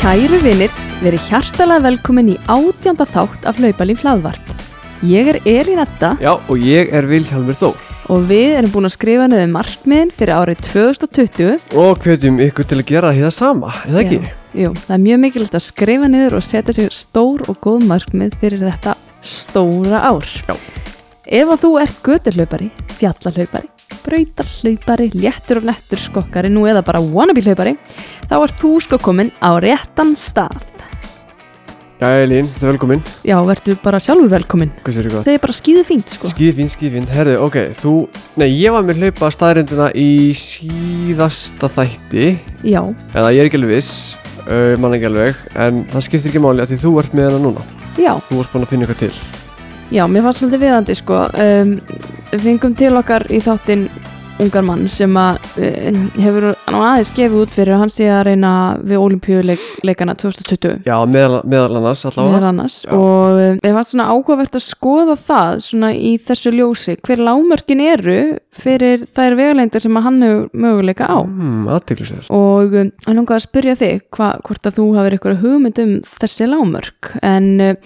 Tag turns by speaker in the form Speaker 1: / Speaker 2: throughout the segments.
Speaker 1: Kæru vinir, verið hjartalega velkomin í átjanda þátt af Hlaupalíf hlaðvarp. Ég er Elín Edda
Speaker 2: Já, og ég er Vilhjalmur Þór
Speaker 1: og við erum búin að skrifa niður markmiðin fyrir árið 2020.
Speaker 2: og hvetjum ykkur til að gera það sama, eða ekki?
Speaker 1: Já, jú, það er mjög mikilvægt að skrifa niður og setja sér stór og góð markmið fyrir þetta stóra ár.
Speaker 2: Já.
Speaker 1: Ef að þú ert göturhlaupari, fjallahlaupari, brautarhlaupari, léttur og nettur skokkari, nú eða bara wannabe hlaupari, þá ert þú sko komin á réttan stað.
Speaker 2: Já, Elín, velkomin,
Speaker 1: Já, verður bara sjálfur velkomin.
Speaker 2: hvað sér gott?
Speaker 1: Það er bara skýðu fínt, sko.
Speaker 2: Skífín, skífín, herðu, ok, þú, nei, ég var með hlaupa staðrindina í síðasta þætti,
Speaker 1: Já,
Speaker 2: eða ég er ekki alveg viss, uh, mann ekki alveg, en það skiptir ekki máli að því þú ert með hana núna,
Speaker 1: já,
Speaker 2: þú varst búin að finna eitthvað til.
Speaker 1: já, mér fannst svolítið viðandi sko um, við Fengum til okkar í þáttinn ungar mann sem að uh, hefur nú aðeins gefið út fyrir að hann sé að reyna við olimpíuleikana 2020
Speaker 2: Já, meðal, meðal annars allavega.
Speaker 1: meðal annars
Speaker 2: Já.
Speaker 1: og um, mér fannst svona áhugavert að skoða það svona í þessu ljósi hver lámörkin eru fyrir þær vegaleindir sem að hann hefur möguleika á
Speaker 2: Hmm, aðteglisverð.
Speaker 1: og um, hann langaði að spyrja þig hva, hvort að þú hafir eitthvað hugmynd um þessi lámörk en uh,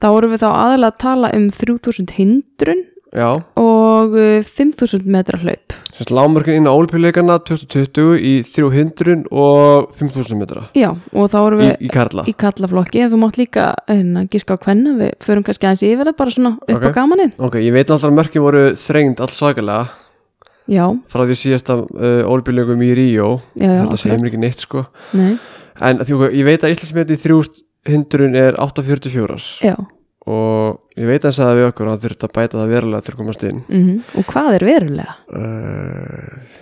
Speaker 1: þá vorum við þá aðalega að tala um 3000 hindrun
Speaker 2: Já,
Speaker 1: og uh, 5000 metra hlaup
Speaker 2: semst lámörkin inn á ólpíuleikana 2020 í 300 og 5000 metra
Speaker 1: já og þá vorum
Speaker 2: í,
Speaker 1: við
Speaker 2: í Karla.
Speaker 1: í kallaflokki en þú mátt líka hérna, gíska á hvenna við förum kannski aðeins yfir það bara svona upp
Speaker 2: Ok.
Speaker 1: á gamaninn
Speaker 2: Ok, ég veit alltaf að mörkin voru þrengd allsakalega
Speaker 1: já,
Speaker 2: frá því síðasta uh, olbjörnlegum í Ríó
Speaker 1: já, já,
Speaker 2: þetta segir mér ekki neitt sko
Speaker 1: Nei,
Speaker 2: en því, ég veit að Íslandsmet í 300 er 844
Speaker 1: já,
Speaker 2: og ég veit að það sagði við okkur að það þurfti að bæta það verulega til að komast inn
Speaker 1: mm og hvað er verulega?
Speaker 2: uh,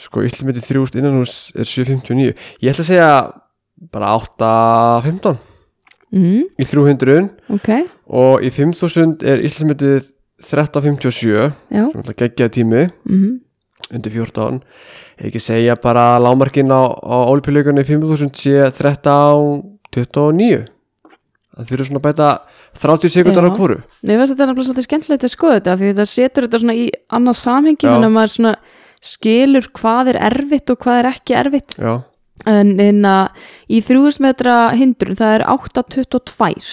Speaker 2: sko Íslandsmet í 3000 innan hús er 759 ég ætla að segja bara 815
Speaker 1: Mm,
Speaker 2: í 300
Speaker 1: ok,
Speaker 2: og í 5000 er Íslandsmetið 1357
Speaker 1: já
Speaker 2: sem ætla að gegja tími
Speaker 1: mm,
Speaker 2: undir 14 Ef ekki segja bara að lámarkin á, á ólpilökunni 5000 sé 13 29 það þurfi svona að bæta 30 sekundar á
Speaker 1: Já.
Speaker 2: hvoru
Speaker 1: Mér finnst þetta nefnilega svolítið skemmtilegt að skoða þetta af því þetta setur þetta svona í annað samhengi
Speaker 2: Já.
Speaker 1: þannig að maður svona skilur hvað er erfitt og hvað er ekki erfitt
Speaker 2: já,
Speaker 1: en, en að í 3000 metra hindrun það er 8.22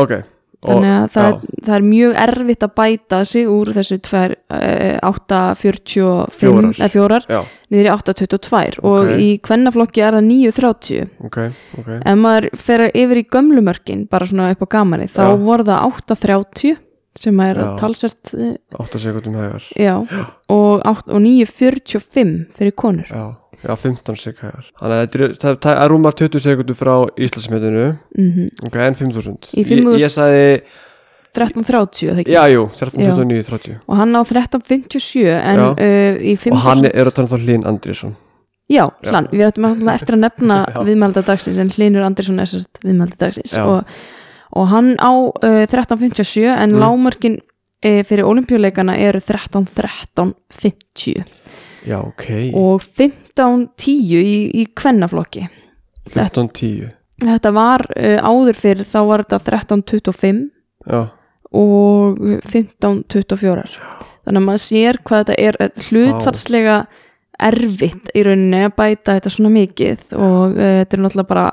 Speaker 2: ok Og-
Speaker 1: þannig að það,
Speaker 2: já,
Speaker 1: er, það er mjög erfitt að bæta sig úr þessu tvær, eh, 8.45
Speaker 2: Fjórar.
Speaker 1: eða fjórar
Speaker 2: já,
Speaker 1: niður í 8.22 og
Speaker 2: Ok. Mhm.
Speaker 1: í kvennaflokki er það 9.30
Speaker 2: ok, ok
Speaker 1: ef maður fer yfir í gömlumörkin bara svona upp á gamari þá
Speaker 2: Já.
Speaker 1: voru það 8.30 sem er
Speaker 2: Já.
Speaker 1: talsvert eh,
Speaker 2: 8 sekundum hægar
Speaker 1: Já, og, átt- og 9.45 fyrir konur.
Speaker 2: já, já, 15 sekundum hægar þannig að þetta eru- það, það er rúmar 20 sekundum frá Íslandsmetinu
Speaker 1: Mm
Speaker 2: ok, en 5000
Speaker 1: Í
Speaker 2: ég,
Speaker 1: 5000.
Speaker 2: ég sagði,
Speaker 1: 13.30 það ekki?
Speaker 2: já, jú, 13, 29, 30
Speaker 1: Og hann á 13.57 en
Speaker 2: Já.
Speaker 1: uh, í 5.000...
Speaker 2: og hann er að tala um þá Hlín Andriðsson
Speaker 1: Já,
Speaker 2: Já.
Speaker 1: hlann, við ættum alltaf eftir að nefna
Speaker 2: Já.
Speaker 1: viðmælda dagsins en Hlinur Andersson er sérst viðmælda dagsins
Speaker 2: Já.
Speaker 1: og, og hann á uh, 13.57 en
Speaker 2: Mm.
Speaker 1: lágmörkin uh, fyrir olimpíuleikana eru 13.13.50
Speaker 2: já, ok,
Speaker 1: og 15.10 í, í kvennaflokki.
Speaker 2: 15, 10
Speaker 1: Þetta var uh, áður fyrir þá var þetta 13.25
Speaker 2: já,
Speaker 1: og 15-24 þannig að maður sér hvað þetta er eh, hlutfallslega erfitt í rauninni að bæta þetta svona mikið og uh, þetta er náttúrulega bara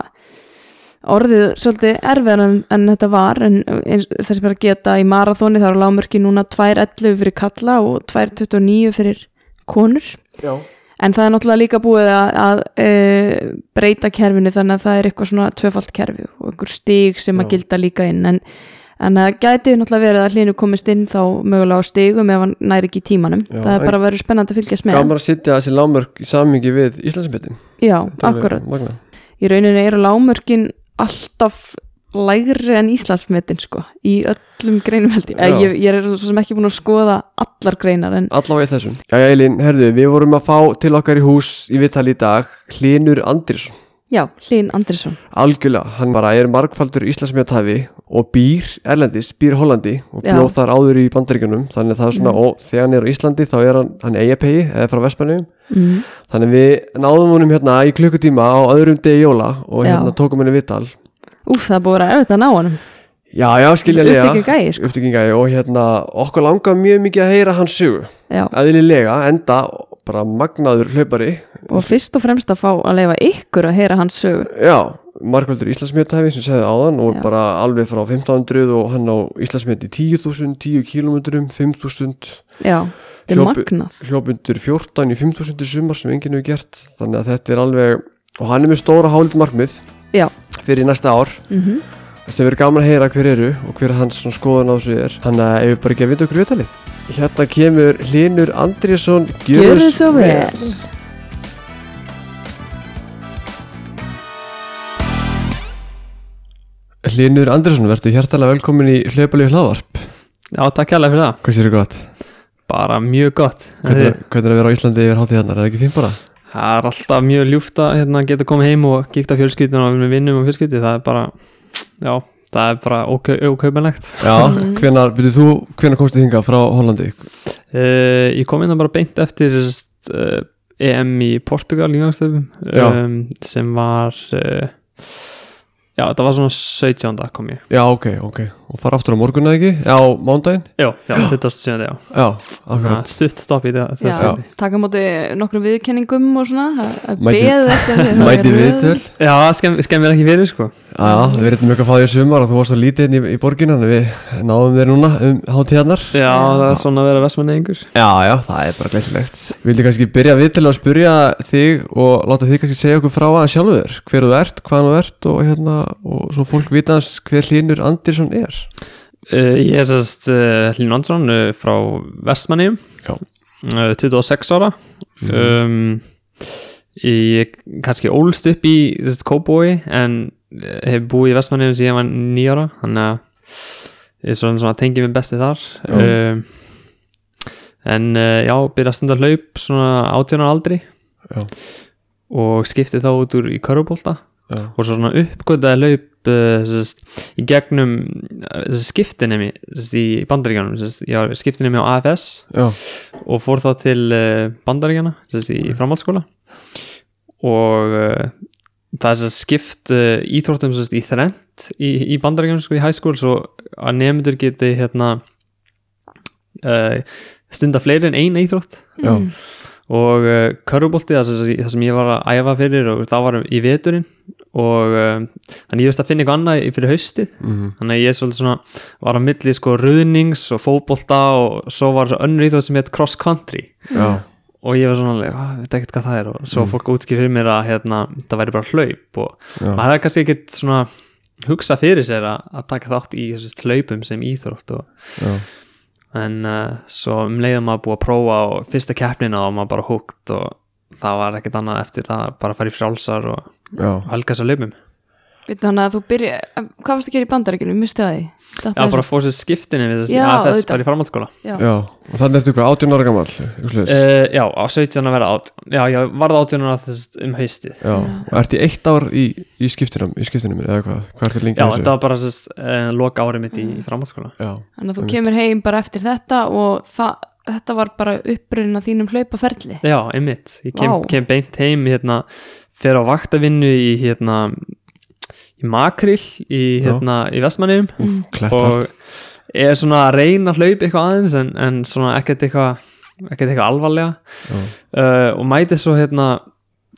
Speaker 1: orðið svolítið erfiðar en, en þetta var en eins, þessi bara geta í marathóni þá er lágmörki núna 2.11 fyrir kalla og 2.29 fyrir konur
Speaker 2: já
Speaker 1: en það er náttúrulega líka búið að, að uh, breyta kerfinu þannig að það er eitthvað svona tvöfalt kerfi og einhver stig sem að
Speaker 2: Já.
Speaker 1: gilda líka inn en, en það gæti náttúrulega verið að hlínu komist inn þá mögulega á stigum ef hann næri ekki í tímanum
Speaker 2: Já,
Speaker 1: það er
Speaker 2: en-
Speaker 1: bara að vera spennandi að fylgjast með
Speaker 2: gaman að sitja þessi lámörk í samingi við Íslandsmyndin
Speaker 1: já, akkurat,
Speaker 2: Magna.
Speaker 1: í rauninni eru lágmörkin alltaf lægri en Íslandsmetin sko í öllum greinum held ég,
Speaker 2: Já.
Speaker 1: ég, ég er svo sem ekki búin að skoða allar greinar en
Speaker 2: allavega í þessum Jæja Elín, herðu, við vorum að fá til okkar í hús í vital í dag Hlinur Andrisson
Speaker 1: já, Hlín Andrisson
Speaker 2: algjörlega, hann bara er margfaldur Íslandsmyndhafi og býr Erlendis, býr Hollandi og
Speaker 1: Já. Mm.
Speaker 2: bjóð þar áður í bandaríkjunum þannig að það er svona, og þegar hann er á Íslandi þá er hann, hann eigapegi eða frá Vestmannum
Speaker 1: mm.
Speaker 2: þannig að við náðum honum hérna í klukkutíma á öðrum degi jóla og
Speaker 1: Já.
Speaker 2: hérna tókum henni vital
Speaker 1: úf, það er búið að vera erfitt að ná honum
Speaker 2: Já, já, skiljanlega
Speaker 1: Upptökugæi, sko.
Speaker 2: Upptökugæi, og hérna okkur langar mjög mikið að heyra hans sögu
Speaker 1: já
Speaker 2: eðlilega, enda bara magnaður hlaupari
Speaker 1: og fyrst og fremst að fá að leifa ykkur að heyra hans sögu
Speaker 2: Já, Margvöldur Íslandsmetæfi sem segði áðan og
Speaker 1: Já.
Speaker 2: bara alveg frá 1500 og hann á Íslandsmet í 10.000, 10 km, 5.000
Speaker 1: já, þetta er
Speaker 2: Hljóp-
Speaker 1: magnað
Speaker 2: hljópundur 14 í 5.000 í sumar sem enginn hefur gert þannig að þetta er alveg og hann er með stóra hálít markmið
Speaker 1: Já.
Speaker 2: fyrir næsta ár
Speaker 1: mm
Speaker 2: sem verður gaman að heyra hver eru og hver hans svona skoðun á þessu er þannig að ef við bara ekki að vita okkur viðtalið hérna kemur Hlinur Andriðsson
Speaker 1: Gjörðu svo vel.
Speaker 2: Hlinur Andriðsson, verður hjertalega velkomin í hlaupalíu hlaðvarp
Speaker 3: Já, takk hérlega fyrir það.
Speaker 2: hvað séu gott?
Speaker 3: Bara mjög gott. En
Speaker 2: Hvernig,
Speaker 3: þið-
Speaker 2: er- hvernig er að vera á Íslandi yfir hátíðarnar, er það ekki fín bara?
Speaker 3: Það er alltaf mjög ljúft að hérna, geta komið heim og kíkt á fjölskyldun og við vinnum á fjölskyldu. Það er bara, já, það er bara ókau- ókaupanlegt.
Speaker 2: Já, hvenar, byrjuð þú, hvenar komstu hingað frá Hollandi?
Speaker 3: Uh, ég kom inn að bara beint eftir uh, EM í Portugal í gangstöfum
Speaker 2: Já.
Speaker 3: um, sem var, uh, já, það var svona 17. kom ég.
Speaker 2: Já, ok, ok, og fara aftur á morgun eða ekki? Já, á mándaginn?
Speaker 3: Já, já, 27. já.
Speaker 2: Já,
Speaker 3: Þannig að
Speaker 2: akkurat
Speaker 3: Stutt stopp í það.
Speaker 1: já,
Speaker 3: þessu.
Speaker 1: taka á móti nokkrum viðkenningum og svona, það- það
Speaker 2: Mæti-
Speaker 1: beðið eftir að þér, það er
Speaker 2: Mæti
Speaker 1: röð.
Speaker 2: við til
Speaker 3: Já, það skemm, skemmir ekki fyrir, sko.
Speaker 2: Já, við erum mjög að fá því sumar og þú varst að lítið inn í, í borginu en við náðum þér núna um hátíðarnar
Speaker 3: Já, það er svona að vera vestmannegingur.
Speaker 2: Já, já, það er bara glæsilegt Vildi kannski byrja við til að spyrja þig og láta þig kannski segja okkur frá að sjálfu þér hver þú ert, hvaðan þú ert og hérna og svo fólk vita hans hver Hlinur Andersson er
Speaker 3: Uh, ég er sérst uh, Hlín Vansson uh, frá Vestmanniðum
Speaker 2: Já. Mhm.
Speaker 3: uh, 26 ára um, ég er kannski ólst upp í sérst, Kóbói en uh, hef búið í Vestmanniðum síðan ég var nýjára þannig að ég svona, svona tengi mig besti þar
Speaker 2: Já.
Speaker 3: um, en uh, já, byrja að stunda hlaup svona 18 ára aldri
Speaker 2: Já.
Speaker 3: og skipti þá út úr í körfubólta
Speaker 2: Já,
Speaker 3: og svo svona uppgötaði laup uh, sest, í gegnum uh, skiptinemi sest, í bandaríkjanum sest, ég var skiptinemi á AFS
Speaker 2: já,
Speaker 3: og fór þá til uh, bandaríkjana sest, í framhaldsskóla og uh, það er sest, skipt uh, íþróttum sest, í þrend í, í bandaríkjanum sko, í high school svo að nefndur geti hérna uh, stunda fleiri en eina íþrótt
Speaker 2: já,
Speaker 1: Mm.
Speaker 3: og uh, körfubolti það, sem- það sem ég var að æfa fyrir og það var í veturinn og um, þannig ég þurfti að finna eitthvað annað í- fyrir haustið
Speaker 2: mhm,
Speaker 3: þannig að ég svolítið svona var á milli sko ruðnings og fótbolta og svo var önnur íþrótt sem heit cross country
Speaker 2: já,
Speaker 3: og ég var svona alveg, "Ah, veit ekkert hvað það er og svo fólk útskýr fyrir mér að hérna, það væri bara hlaup og
Speaker 2: já.
Speaker 3: maður hefði kannski ekkert svona hugsa fyrir sér að, að taka þátt í þessist hlaupum sem íþrótt og
Speaker 2: já.
Speaker 3: en uh, svo um leiðum maður búið að prófa og fyrsta keppnina og maður bara húgt og það var ekkert annað eftir það bara að fara í frjálsar og
Speaker 2: Já,
Speaker 3: helga þess að laupum já,
Speaker 1: Veitu, þannig að þú byrja, hvað varst að gera í bandaríkinu, misti það því Datt það
Speaker 3: bara
Speaker 1: þessu?
Speaker 3: að fóra sér skiptinni við þess
Speaker 1: Já,
Speaker 3: að þess
Speaker 1: auðvitað.
Speaker 3: bara í framhaldsskóla
Speaker 1: Já.
Speaker 2: já, og þannig ertu hvað, 18 ára gammal, úrsluðis uh,
Speaker 3: uh, já, á 17 að vera át já, já, varð átjónur að þess um haustið
Speaker 2: Já, og ert í eitt ár í, í skiptinum, í skiptinum, eða hvað, hvað ertu lengi
Speaker 3: já,
Speaker 2: í
Speaker 3: þetta var bara þess uh, loka árið mitt
Speaker 1: Mm.
Speaker 3: í, í framhaldsskóla
Speaker 2: Já,
Speaker 1: Þannig að þú
Speaker 2: Einmitt.
Speaker 1: kemur heim bara eftir þetta og það, þetta var bara upprunna þínum hlaupaferli
Speaker 3: já, einmitt, ég kem,
Speaker 1: Vá.
Speaker 3: kem beint heim hérna, fer á vaktavinnu í hérna í Makril í,
Speaker 2: Já.
Speaker 3: hérna, í Vestmanniðum
Speaker 1: mm.
Speaker 2: klett
Speaker 3: og er svona að reyna að hlaupa eitthvað aðeins en, en svona ekkert eitthvað ekkert eitthvað alvarlega
Speaker 2: Já.
Speaker 3: uh, og mæti svo hérna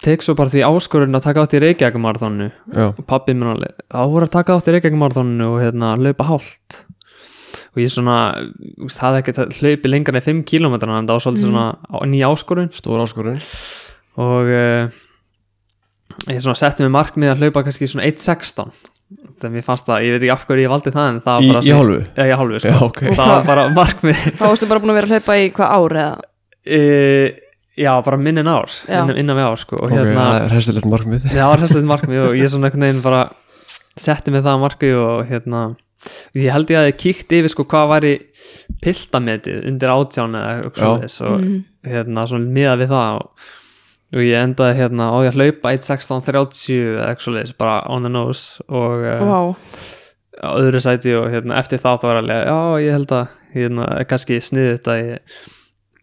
Speaker 3: tek svo bara því áskorun að taka átt í reykjagumarathonu
Speaker 2: Já,
Speaker 3: og pabbi minn alveg þá voru að taka átt í reykjagumarathonu og hérna hlaupa hálft og ég svona þú veist, hafði ekkert hlaupi lengra en 5 km en það var svolítið
Speaker 1: Mm.
Speaker 3: svona á- ný áskorun
Speaker 2: stór áskorun
Speaker 3: og uh, ég svona setti mig markmið að hlaupa kannski svona 1.16 þannig að mér fannst það, ég veit ekki af hverju ég valdi það en það
Speaker 2: Í,
Speaker 3: var bara
Speaker 2: í
Speaker 3: svona-
Speaker 2: hálfu
Speaker 3: Já, ég hálfu, sko.
Speaker 2: Já, ok
Speaker 3: Það var bara markmið.
Speaker 1: Þá varstu bara búin að vera að hlaupa í hvað ár eða
Speaker 3: E, já, bara minn en ár,
Speaker 1: Já.
Speaker 3: innan, innan við ár, sko. Og
Speaker 2: Ok,
Speaker 3: hérna,
Speaker 2: það er hestilegt markmið
Speaker 3: það var hlæslega markmið og ég svona einhvern veginn bara setti mig það markmið og hérna, ég held ég að ég kíkt yfir, sko, hvað væri piltametið undir átján eða eitthvað
Speaker 2: Já.
Speaker 3: svoleiðis og
Speaker 1: Mhm.
Speaker 3: hérna, svona miðað við það og, og ég endaði hérna á ég að hlaupa 1.16.30 eða eitthvað svoleiðis, bara on the nose og... eh,
Speaker 1: Vá,
Speaker 3: á öðru sæti og hérna, eftir það þá var alveg já ég held að hérna, er kannski sniðu þetta ég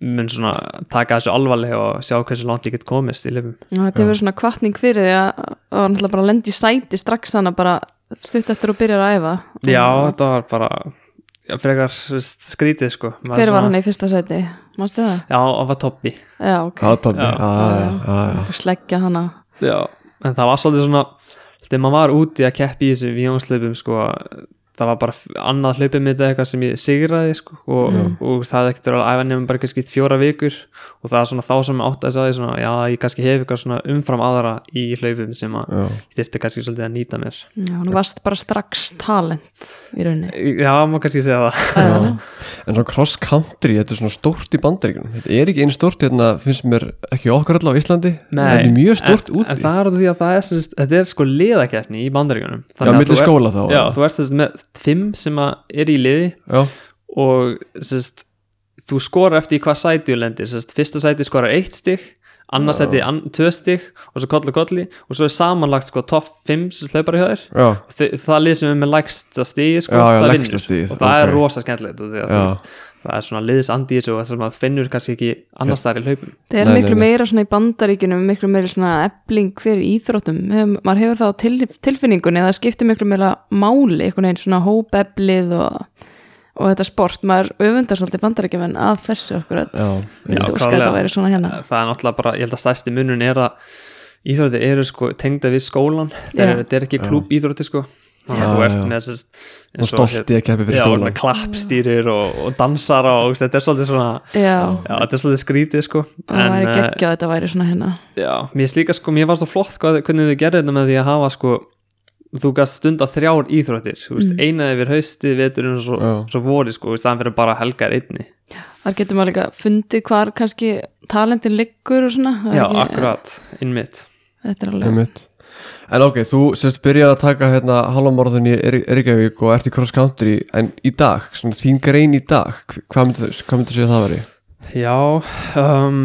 Speaker 3: mun svona taka þessu alvarlega og sjá hversu langt ég get komist í lifum
Speaker 1: Já, þetta hefur verið svona kvartning fyrir því að að var náttúrulega bara að lenda í sæti strax hana bara stutt eftir að byrja að æfa
Speaker 3: já þetta var bara já, frekar þú veist, skrítið sko
Speaker 1: Hver var hann í fyrsta sæti? Mástu það?
Speaker 3: já það var toppi
Speaker 1: Já, ok
Speaker 2: Hátambi,
Speaker 3: Já.
Speaker 2: já, já, já
Speaker 1: Sleggja hana
Speaker 3: já. en það var svolítið svona þegar maður var úti að keppi í þessu víjónslaupum sko, það var bara f- annað hlaupið mitt eða eitthvað sem ég sigraði sko, og, og, það hefði ekkert verið að æfa nefnum bara kannski fjóra vikur og það er svona þá sem ég átt að segja svona, já, ég kannski hef eitthvað svona umfram aðra í hlaupum sem að
Speaker 2: já,
Speaker 3: ég þyrfti kannski svolítið að nýta mér
Speaker 1: Já, hún varst bara strax talent í rauninni.
Speaker 3: já, maður kannski segja það
Speaker 2: já. en svona cross country, þetta er svona stórt í bandaríkunum þetta er ekki einn stórt, hérna finnst mér ekki okkar allavega á Íslandi þetta er mjög stórt
Speaker 3: en,
Speaker 2: úti
Speaker 3: en það er út af því að það er, sem sagt, þetta er sko liðakeppni í bandaríkunum
Speaker 2: já, milli skóla þá
Speaker 3: já, þú ert sem sagt, með fimm sem að er í liði
Speaker 2: já,
Speaker 3: og sérst, þú skorar eftir í hvað sæti þú lendir sérst, fyrsta sæti skorar eitt stig annars sæti an, tvö stig og svo kollu kolli og svo er samanlagt sko topp 5 sem slaupar í höður
Speaker 2: já,
Speaker 3: það lið sem er með lægsta stigi sko,
Speaker 2: Já, já,
Speaker 3: það
Speaker 2: lægsta stigið,
Speaker 3: og það er
Speaker 2: ok.
Speaker 3: rosa skemmtilegt og því að, þú
Speaker 2: Já.
Speaker 3: veist, það er svona liðsandi í þessu og það sem að finnur kannski ekki annars staðar í hlaupum
Speaker 1: Það er
Speaker 2: Nei, nei,
Speaker 1: miklu
Speaker 2: nei.
Speaker 1: meira svona í bandaríkjunum, miklu meira svona ebling fyrir íþróttum. Hef, maður hefur það á til, tilfinningunni að það skiptir miklu meira máli, einhvern veginn svona hópeblið og, og þetta sport. Maður öfundar svolítið bandaríkjumenn að þessu okkur að
Speaker 2: Já,
Speaker 1: myndi óska
Speaker 3: já,
Speaker 1: að
Speaker 3: klárlega.
Speaker 1: þetta væri svona hérna.
Speaker 3: það er náttúrulega bara, ég held að stærsti munun er að íþróttir eru sko tengda við skólan þegar
Speaker 1: Já.
Speaker 3: þetta er ekki klúb íþróttir sko þannig að
Speaker 2: Já,
Speaker 3: þú ert
Speaker 2: já.
Speaker 3: með sérst,
Speaker 2: og stolti að keppi fyrir
Speaker 3: já,
Speaker 2: skólan
Speaker 3: og klappstýrir og, og dansar og veist, þetta er svolítið svona
Speaker 1: Já,
Speaker 3: já, þetta er svolítið skrítið sko
Speaker 1: og það væri
Speaker 3: eh,
Speaker 1: geggjað að þetta væri svona hérna.
Speaker 3: já, mér slíka sko, mér var svo flott hvað, hvernig þau gerði þetta með því að hafa sko þú gast stunda þrjár íþróttir þú
Speaker 1: Mm.
Speaker 3: veist, eina yfir haustið, veturinn og svo,
Speaker 2: Já.
Speaker 3: svo vori sko, þú veist, það fyrir bara helgar einni
Speaker 1: Þar getur maður líka fundið hvar kannski talentin liggur og svona. Það er
Speaker 3: já,
Speaker 1: ekki-
Speaker 3: akkurat, innmitt
Speaker 1: Þetta er alveg.
Speaker 2: Einmitt. En ok, þú sérst byrjar að taka hérna halvamorðun í Er- Reykjavík og ert í cross country en í dag, svona þín grein í dag hv- hvað myndir hvað myndir segja að það veri?
Speaker 3: Já, um,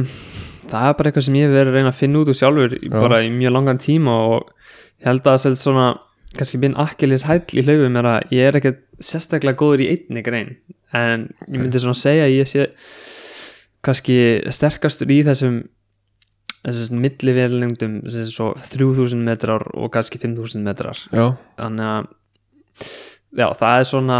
Speaker 3: það er bara eitthvað sem ég hef verið að reyna að finna út úr sjálfur í-
Speaker 2: Já.
Speaker 3: bara í mjög langan tíma og ég held að það er svona kannski minn akkilis hæll í hlaupum er að ég er ekkert sérstaklega góður í einni grein en ég myndi svona segja að ég sé kannski sterkastur í þessum þessum millivélningdum sem er svo 3000 metrar og kannski 5000 metrar
Speaker 2: Já,
Speaker 3: þannig að já, það er svona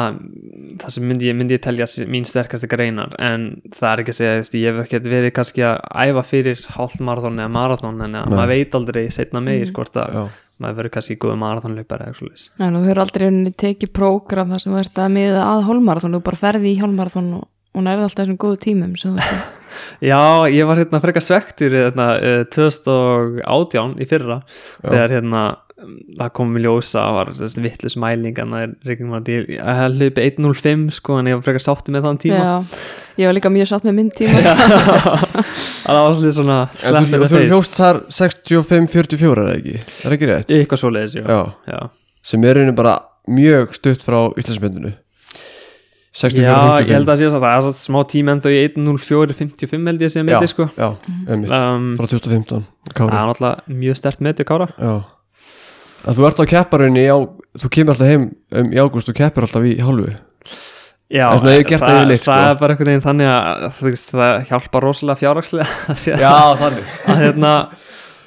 Speaker 3: það sem myndi ég, myndi ég telja sé- mín sterkasti greinar en það er ekki að segja, veist, ég hef ekkert verið kannski að æfa fyrir hálfmarathon eða marathon en að
Speaker 2: Nei.
Speaker 3: maður veit aldrei setna meir hvort að
Speaker 2: já,
Speaker 3: maður verður kannski góð marathonlaupar eða eitthvað
Speaker 1: Já, nú hefur aldrei henni tekið prógram þar sem þú ert að miða að hólmarathon, þú bara ferði í hólmarathon og hún er alltaf þessum góðu tímum sem þú ert
Speaker 3: Já, ég var hérna frekar svektur hérna, eh, 2018 í fyrra þegar hérna mm, það kom í ljósa að var þessi vittlus mæling en það er reiknum að ég ég hafði hlupið 1.05 sko en ég var frekar sáttu með þann
Speaker 1: að
Speaker 3: tíma
Speaker 1: Já, ég var líka mjög sátt með minn tíma Já,
Speaker 3: Það var svolítið svona
Speaker 2: en
Speaker 3: slapp
Speaker 2: þú,
Speaker 3: in the
Speaker 2: þú
Speaker 3: face.
Speaker 2: hljóst þar 65-44 eða ekki, það er ekki rétt
Speaker 3: Eitthvað svoleiðis, já.
Speaker 2: Já,
Speaker 3: já.
Speaker 2: sem er einu bara mjög stutt frá Íslandsmyndinu
Speaker 3: Já, ég
Speaker 2: 64-55
Speaker 3: held að sé að það er svo smá tíma en þau í 1.04.55 held ég sé að
Speaker 2: Já,
Speaker 3: meti, sko.
Speaker 2: já, einmitt,
Speaker 3: Um,
Speaker 2: frá 2015
Speaker 3: Það
Speaker 2: Kári,
Speaker 3: er náttúrulega mjög stert meti, Kára.
Speaker 2: já að þú ert á kepparunni, já, þú kemur alltaf heim um, í ágúst og keppar alltaf í hálfu
Speaker 3: Já,
Speaker 2: En svona hefur gert það yfirleitt, sko.
Speaker 3: það er bara einhvern veginn þannig að þú veist, það hjálpar rosalega fjárhagslega að, sé-
Speaker 2: þannig
Speaker 3: að, hérna,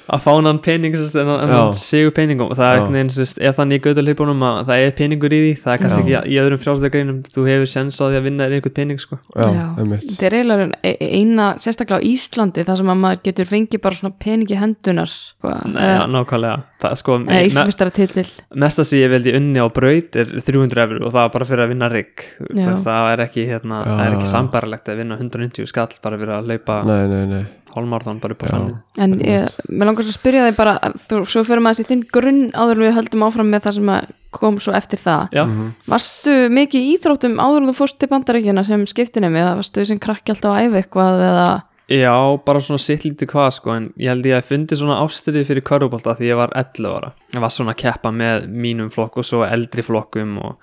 Speaker 3: að fána hann pening sérst, en, en
Speaker 2: Já.
Speaker 3: hann sigur peningum og það er
Speaker 2: Já.
Speaker 3: einhvern veginn, sérst, er þannig í gautalhipunum að það er peningur í því, það er kannski
Speaker 2: Já.
Speaker 3: ekki í öðrum frjálslegreinum, þú hefur sens á því að vinna þér einhvern pening sko.
Speaker 2: Já, einmitt
Speaker 1: Þetta er eiginlega ein- eina, sérstaklega á Íslandi þar sem að maður getur fengið bara svona peningi hendunar sko.
Speaker 3: Nei, já, nákvæmlega það, sko, me- me-
Speaker 1: Íslamistara titill
Speaker 3: mesta sem ég veldi unni á braut er 300 efur og það var bara fyrir að vinna rigg
Speaker 1: Já.
Speaker 3: það, það er ekki, hérna,
Speaker 2: Já,
Speaker 3: það er ekki
Speaker 2: já.
Speaker 3: sambarlegt að vinna 190 skall bara fyrir að leipa
Speaker 2: Nei, nei, nei
Speaker 3: hálmarðan bara upp á
Speaker 2: Já.
Speaker 3: sannu
Speaker 1: En ég, mér langar svo að spyrja þig bara þú, svo fyrir maður sér þinn grunn áður en við höldum áfram með það sem að kom svo eftir það
Speaker 3: Já,
Speaker 2: Mhm.
Speaker 1: Varstu mikið í íþróttum áður en þú fórst til bandarækjana sem skiptinemi eða varstu sem krakki alltaf að æfa eitthvað eða
Speaker 3: já, bara svona sitt lítið hvað sko, en ég held ég að fundi svona ástyrði fyrir körfubolta því ég var 11 ára ég var svona að keppa með mínum flokk og svo eldri flokkum og,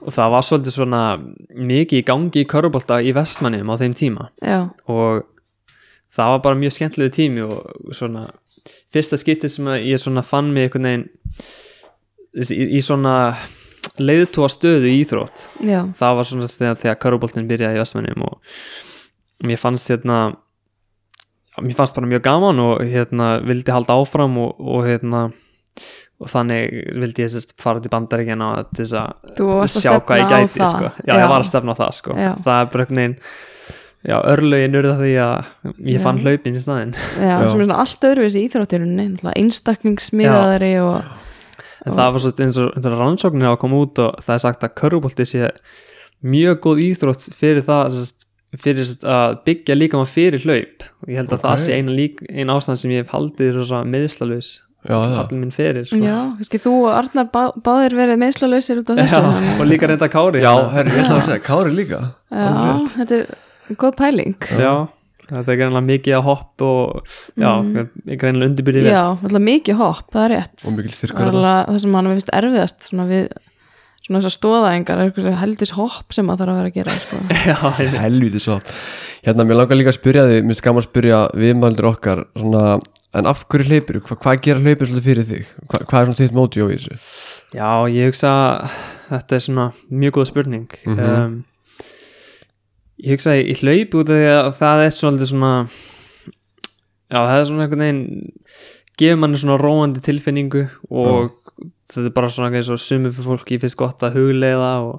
Speaker 3: og það var svolítið svona mikið í gangi í körfubolta í vestmannum á þeim tíma
Speaker 1: já,
Speaker 3: og það var bara mjög skemmtilegu tími og svona fyrsta skiptið sem að ég svona fann mig einhvern veginn í, í svona leiðtóa stöðu í íþrótt
Speaker 1: já,
Speaker 3: það var svona þegar, þegar köruboltin byrjaði í Vestmennum og mér fannst hérna já, mér fannst bara mjög gaman og hérna vildi halda áfram og, og hérna og þannig vildi ég sérst fara til bandaríkjana til þess að
Speaker 1: Þú Sko, varst að
Speaker 3: sjá hvað ég
Speaker 1: stefna á
Speaker 3: gæti
Speaker 1: það.
Speaker 3: sko. já,
Speaker 1: Já.
Speaker 3: ég var að stefna á það sko.
Speaker 1: Já.
Speaker 3: það er bara einhvern veginn já, örlögin urða því að ég fann hlaupin í staðinn
Speaker 1: já, sem er svona allt öðruvísi íþróttirunni einstaklingsmiðaðari og
Speaker 3: en það var svolítið eins og, eins og rannsóknir að koma út og það er sagt að körfubolti sé mjög góð íþrótt fyrir það sérst, fyrir sérst, að byggja líka maður fyrir hlaup og ég held að það
Speaker 2: Ok.
Speaker 3: sé eina, lík, eina ástæðan sem ég hef haldið rosa meðslalus
Speaker 2: Já, það.
Speaker 3: allir minn fyrir sko.
Speaker 1: Já, kannski þú og Arnar bá, báðir verið meðslalausir út af þessu
Speaker 3: Já,
Speaker 1: þannig
Speaker 3: og
Speaker 1: að-
Speaker 3: líka reynda Kári
Speaker 2: Já,
Speaker 3: þannig að-
Speaker 2: herri, ég ætla að segja, Kári líka
Speaker 1: Já, þetta er góð pæling
Speaker 3: já þetta er greinlega mikið að hopp og já, mm. greinlega undirbyrðið
Speaker 1: Mhm. Já, alltaf mikið hopp, það er rétt
Speaker 2: Og mikil styrkur
Speaker 1: Það er alveg það sem mann finnst erfiðast svona við svona þessar stóðaengar er eitthvað heldis hopp sem maður þarf að vera að gera sko.
Speaker 3: já, einmitt.
Speaker 2: helviti svo hérna, mér langar líka að spyrja því, mér finnst gaman að spyrja viðmældur okkar, svona en af hverju hleypur, Hva, hvað gera hleypur svolítið fyrir þig, Hva, hvað er svona þitt móti á þessu
Speaker 3: já, ég hugsa að þetta er svona mjög góð spurning
Speaker 2: Mhm.
Speaker 3: um, ég hugsa að ég hlaup út af því að það er svolítið svona já, það er svona einhvern veginn gefur manni svona róandi tilfinningu og þetta er bara svona eins og sumið fyrir fólki finnst gott að hugleiða og,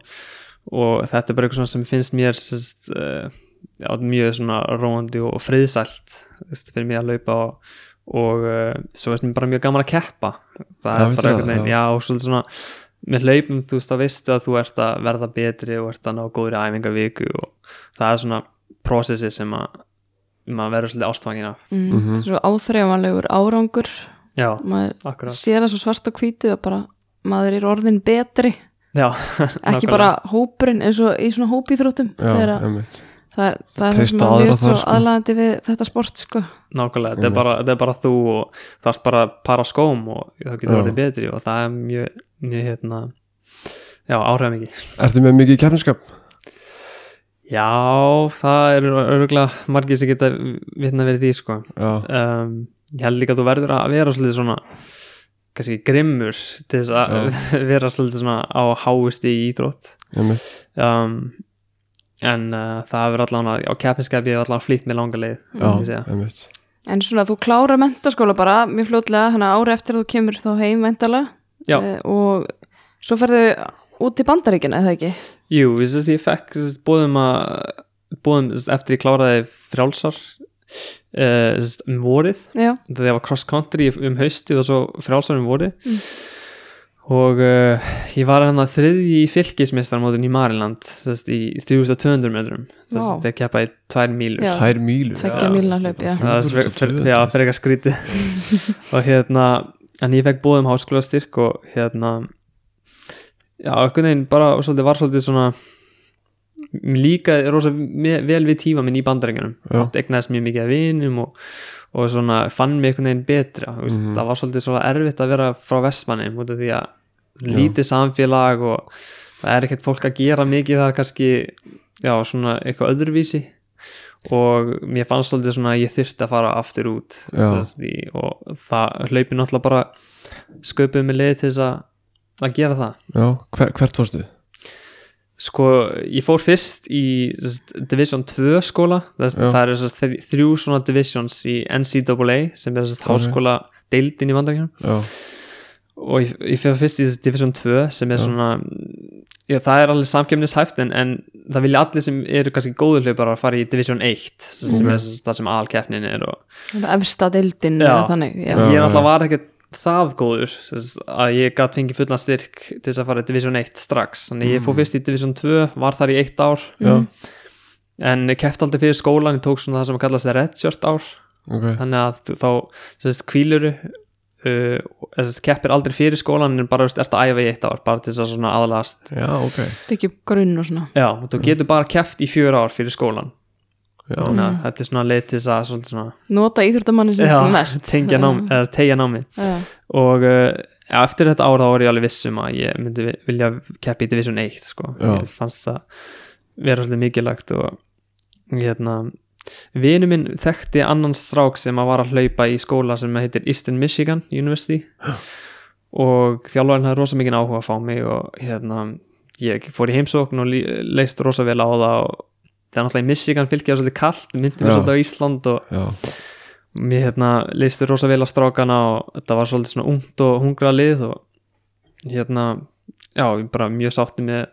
Speaker 3: og þetta er bara eitthvað svona sem finnst mér sérst, uh, já, mjög svona róandi og, og friðsælt sérst, fyrir mér að laupa og, og uh, svo veist mér bara mjög gaman að keppa
Speaker 2: Já,
Speaker 3: það er
Speaker 2: veistu
Speaker 3: bara
Speaker 2: það?
Speaker 3: einhvern veginn,
Speaker 2: Já.
Speaker 3: já og svolítið svona með hlaupum, þú veist, þá veistu að þú ert að verða betri og ert að ná góðri æfingaviku og það er svona prósessi sem að maður verður svolítið ástfangin af
Speaker 1: mm, Svo áþreifanlegur árangur
Speaker 3: já,
Speaker 1: maður
Speaker 3: akkurat
Speaker 1: sér það svo svart og hvítu að bara maður er orðin betri
Speaker 3: já,
Speaker 1: ekki
Speaker 3: nákvæmlega.
Speaker 1: bara hópurinn eins og í svona hópíþróttum þegar að-
Speaker 2: einmitt.
Speaker 1: það er það er það sem
Speaker 2: Treysta
Speaker 1: maður
Speaker 2: aðra
Speaker 1: mjög svo
Speaker 2: þar, sko.
Speaker 1: aðlaðandi við þetta sport sko.
Speaker 3: nákvæmlega, þetta er,
Speaker 2: Einmitt.
Speaker 3: bara, þetta er bara þú og þarft bara að para skóm og það getur
Speaker 2: Já.
Speaker 3: orðið betri og það er mjög, mjög hérna já, áhrifða mikið
Speaker 2: ertu með mikið kefniskap?
Speaker 3: já, það eru örgulega margir sem geta vitna verið því sko
Speaker 2: já,
Speaker 3: um, ég held líka að þú verður að vera svolítið svona kannski grimmur til þess að vera svolítið svona á háusti í íþrótt
Speaker 2: einmitt
Speaker 3: um, en uh, það hefur allan að á keppinskapi hefur allan flýtt með langa leið
Speaker 2: já,
Speaker 3: myndi ég segja.
Speaker 2: einmitt
Speaker 1: en svona þú klára mentaskóla bara mjög fljótlega, þannig að ári eftir að þú kemur þá heim mentala
Speaker 3: Já.
Speaker 1: Eh. og svo ferðu út til bandaríkina eða ekki
Speaker 3: Jú, ég sést ég fekk sérst, bóðum að bóðum sérst, eftir ég kláraði frjálsar uh, sérst, um vorið
Speaker 1: já,
Speaker 3: það var cross country um haustið og svo frjálsar um vorið og uh, ég var hann að þriðji fylgismestarmótin í Mariland sérst, í 3200 metrum
Speaker 1: Vá.
Speaker 3: sérst, þegar keppa í tvær mílur
Speaker 1: Já.
Speaker 2: tær mílu
Speaker 1: Tveggja mílna hlaup, já.
Speaker 3: það er fyrir- fyrir- já, fyrir eitthvað skrítið og hérna, en ég fekk bóðum háskólastyrk og hérna já, einhvern veginn bara og svolítið var svolítið svona líka rosa me- vel við tíma minn í bandarengjunum,
Speaker 2: Já.
Speaker 3: átt egnaðist mjög mikið að vinum og, og svona fann mig einhvern veginn betra, þú veist,
Speaker 2: Mhm.
Speaker 3: það var svolítið svona erfitt að vera frá vestmanni, út af því að lítið samfélag og það er ekkert fólk að gera mikið það er kannski, já, svona eitthvað öðruvísi og mér fannst svolítið svona að ég þyrfti að fara aftur út
Speaker 2: Já.
Speaker 3: Þess- í, og það hlaupi náttúrulega bara sköpuð með leið til þess að, að gera það
Speaker 2: já, hver, hvert fórstu?
Speaker 3: Sko, ég fór fyrst í sest, Division 2 skóla það,
Speaker 2: Já.
Speaker 3: það eru sest, þr- þrjú svona divisions í NCAA sem er sest, háskóla deildin í vandaríkjum
Speaker 2: já,
Speaker 3: og ég, ég fyrir fyrst í sest, Division 2 sem er
Speaker 2: Já.
Speaker 3: svona já, það er alveg samkjöfnishæft en, en það vilja allir sem eru kannski góður hlaupar að fara í Division 1 sem, sem
Speaker 2: Ok.
Speaker 3: er sest, það sem alkeppnin er og
Speaker 1: Svona efsta deildin
Speaker 3: Já.
Speaker 1: eða þannig já.
Speaker 2: Já.
Speaker 3: ég náttúrulega var ekkert það góður þess að ég gat fengið fullan styrk til þess að fara í Division 1 strax þannig ég fór fyrst í Division 2, var þar í eitt ár
Speaker 2: Mhm. já,
Speaker 3: en keft aldrei fyrir skólan ég tók svona það sem að kallast redshirt ár
Speaker 2: ok
Speaker 3: þannig að þú- þá sérst, kvíluru uh, sérst, keppir aldrei fyrir skólan en bara veist, ert að æfa í eitt ár bara til þess að svona aðlast
Speaker 2: já, ok
Speaker 1: byggja upp grunn og svona
Speaker 3: já, og þú getur bara keft í fjör ár fyrir skólan
Speaker 2: Já.
Speaker 3: þannig að þetta er svona leið til þess að svolítið svona,
Speaker 1: nota íþróttamanni sem
Speaker 3: já,
Speaker 1: mest Eh,
Speaker 3: tengja
Speaker 1: já.
Speaker 3: nám, eða tegja námið
Speaker 1: Já.
Speaker 3: og uh, ja, eftir þetta ára var ég alveg viss um að ég myndi vi- vilja keppa í Division 1 sko.
Speaker 2: Já.
Speaker 3: ég fannst það vera svolítið mikilagt og hérna vinu minn þekkti annan strák sem að var að hlaupa í skóla sem heitir Eastern Michigan University og þjálfarinn hafði rosa mikið áhuga að fá mig og hérna ég fór í heimsókn og lí- leist rosa vel á það og það er náttúrulega í Michigan fylgja svolítið kallt, myndi mér
Speaker 2: Já.
Speaker 3: svolítið á Ísland og
Speaker 2: já,
Speaker 3: mér hérna listi rosa vel á strákana og þetta var svolítið svona ungt og hungra lið og hérna já, ég bara mjög sátti með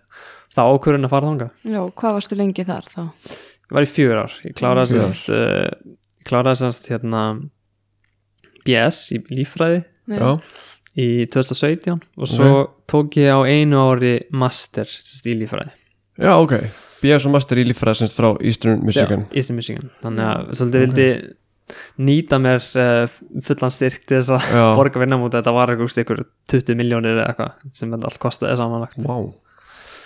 Speaker 3: það ákvörðin að fara þanga.
Speaker 1: já, hvað varstu lengi þar þá?
Speaker 3: Ég var í fjör ár, ég kláraði
Speaker 2: Fjör ár.
Speaker 3: sérst uh, kláraði sérst hérna BS í líffræði
Speaker 2: já,
Speaker 3: í 2017 og svo tók ég á einu ári master sérst, í líffræði
Speaker 2: já, ok B.S. og Master í líffræði semst frá Eastern Michigan
Speaker 3: Já, Eastern Michigan þannig að svolítið vildi nýta mér uh, fullan styrk til þess að
Speaker 2: Já.
Speaker 3: borga vinna múti þetta var eitthvað ykkur 20 miljónir eða eitthvað sem þetta allt kostaði samanlagt
Speaker 2: Vá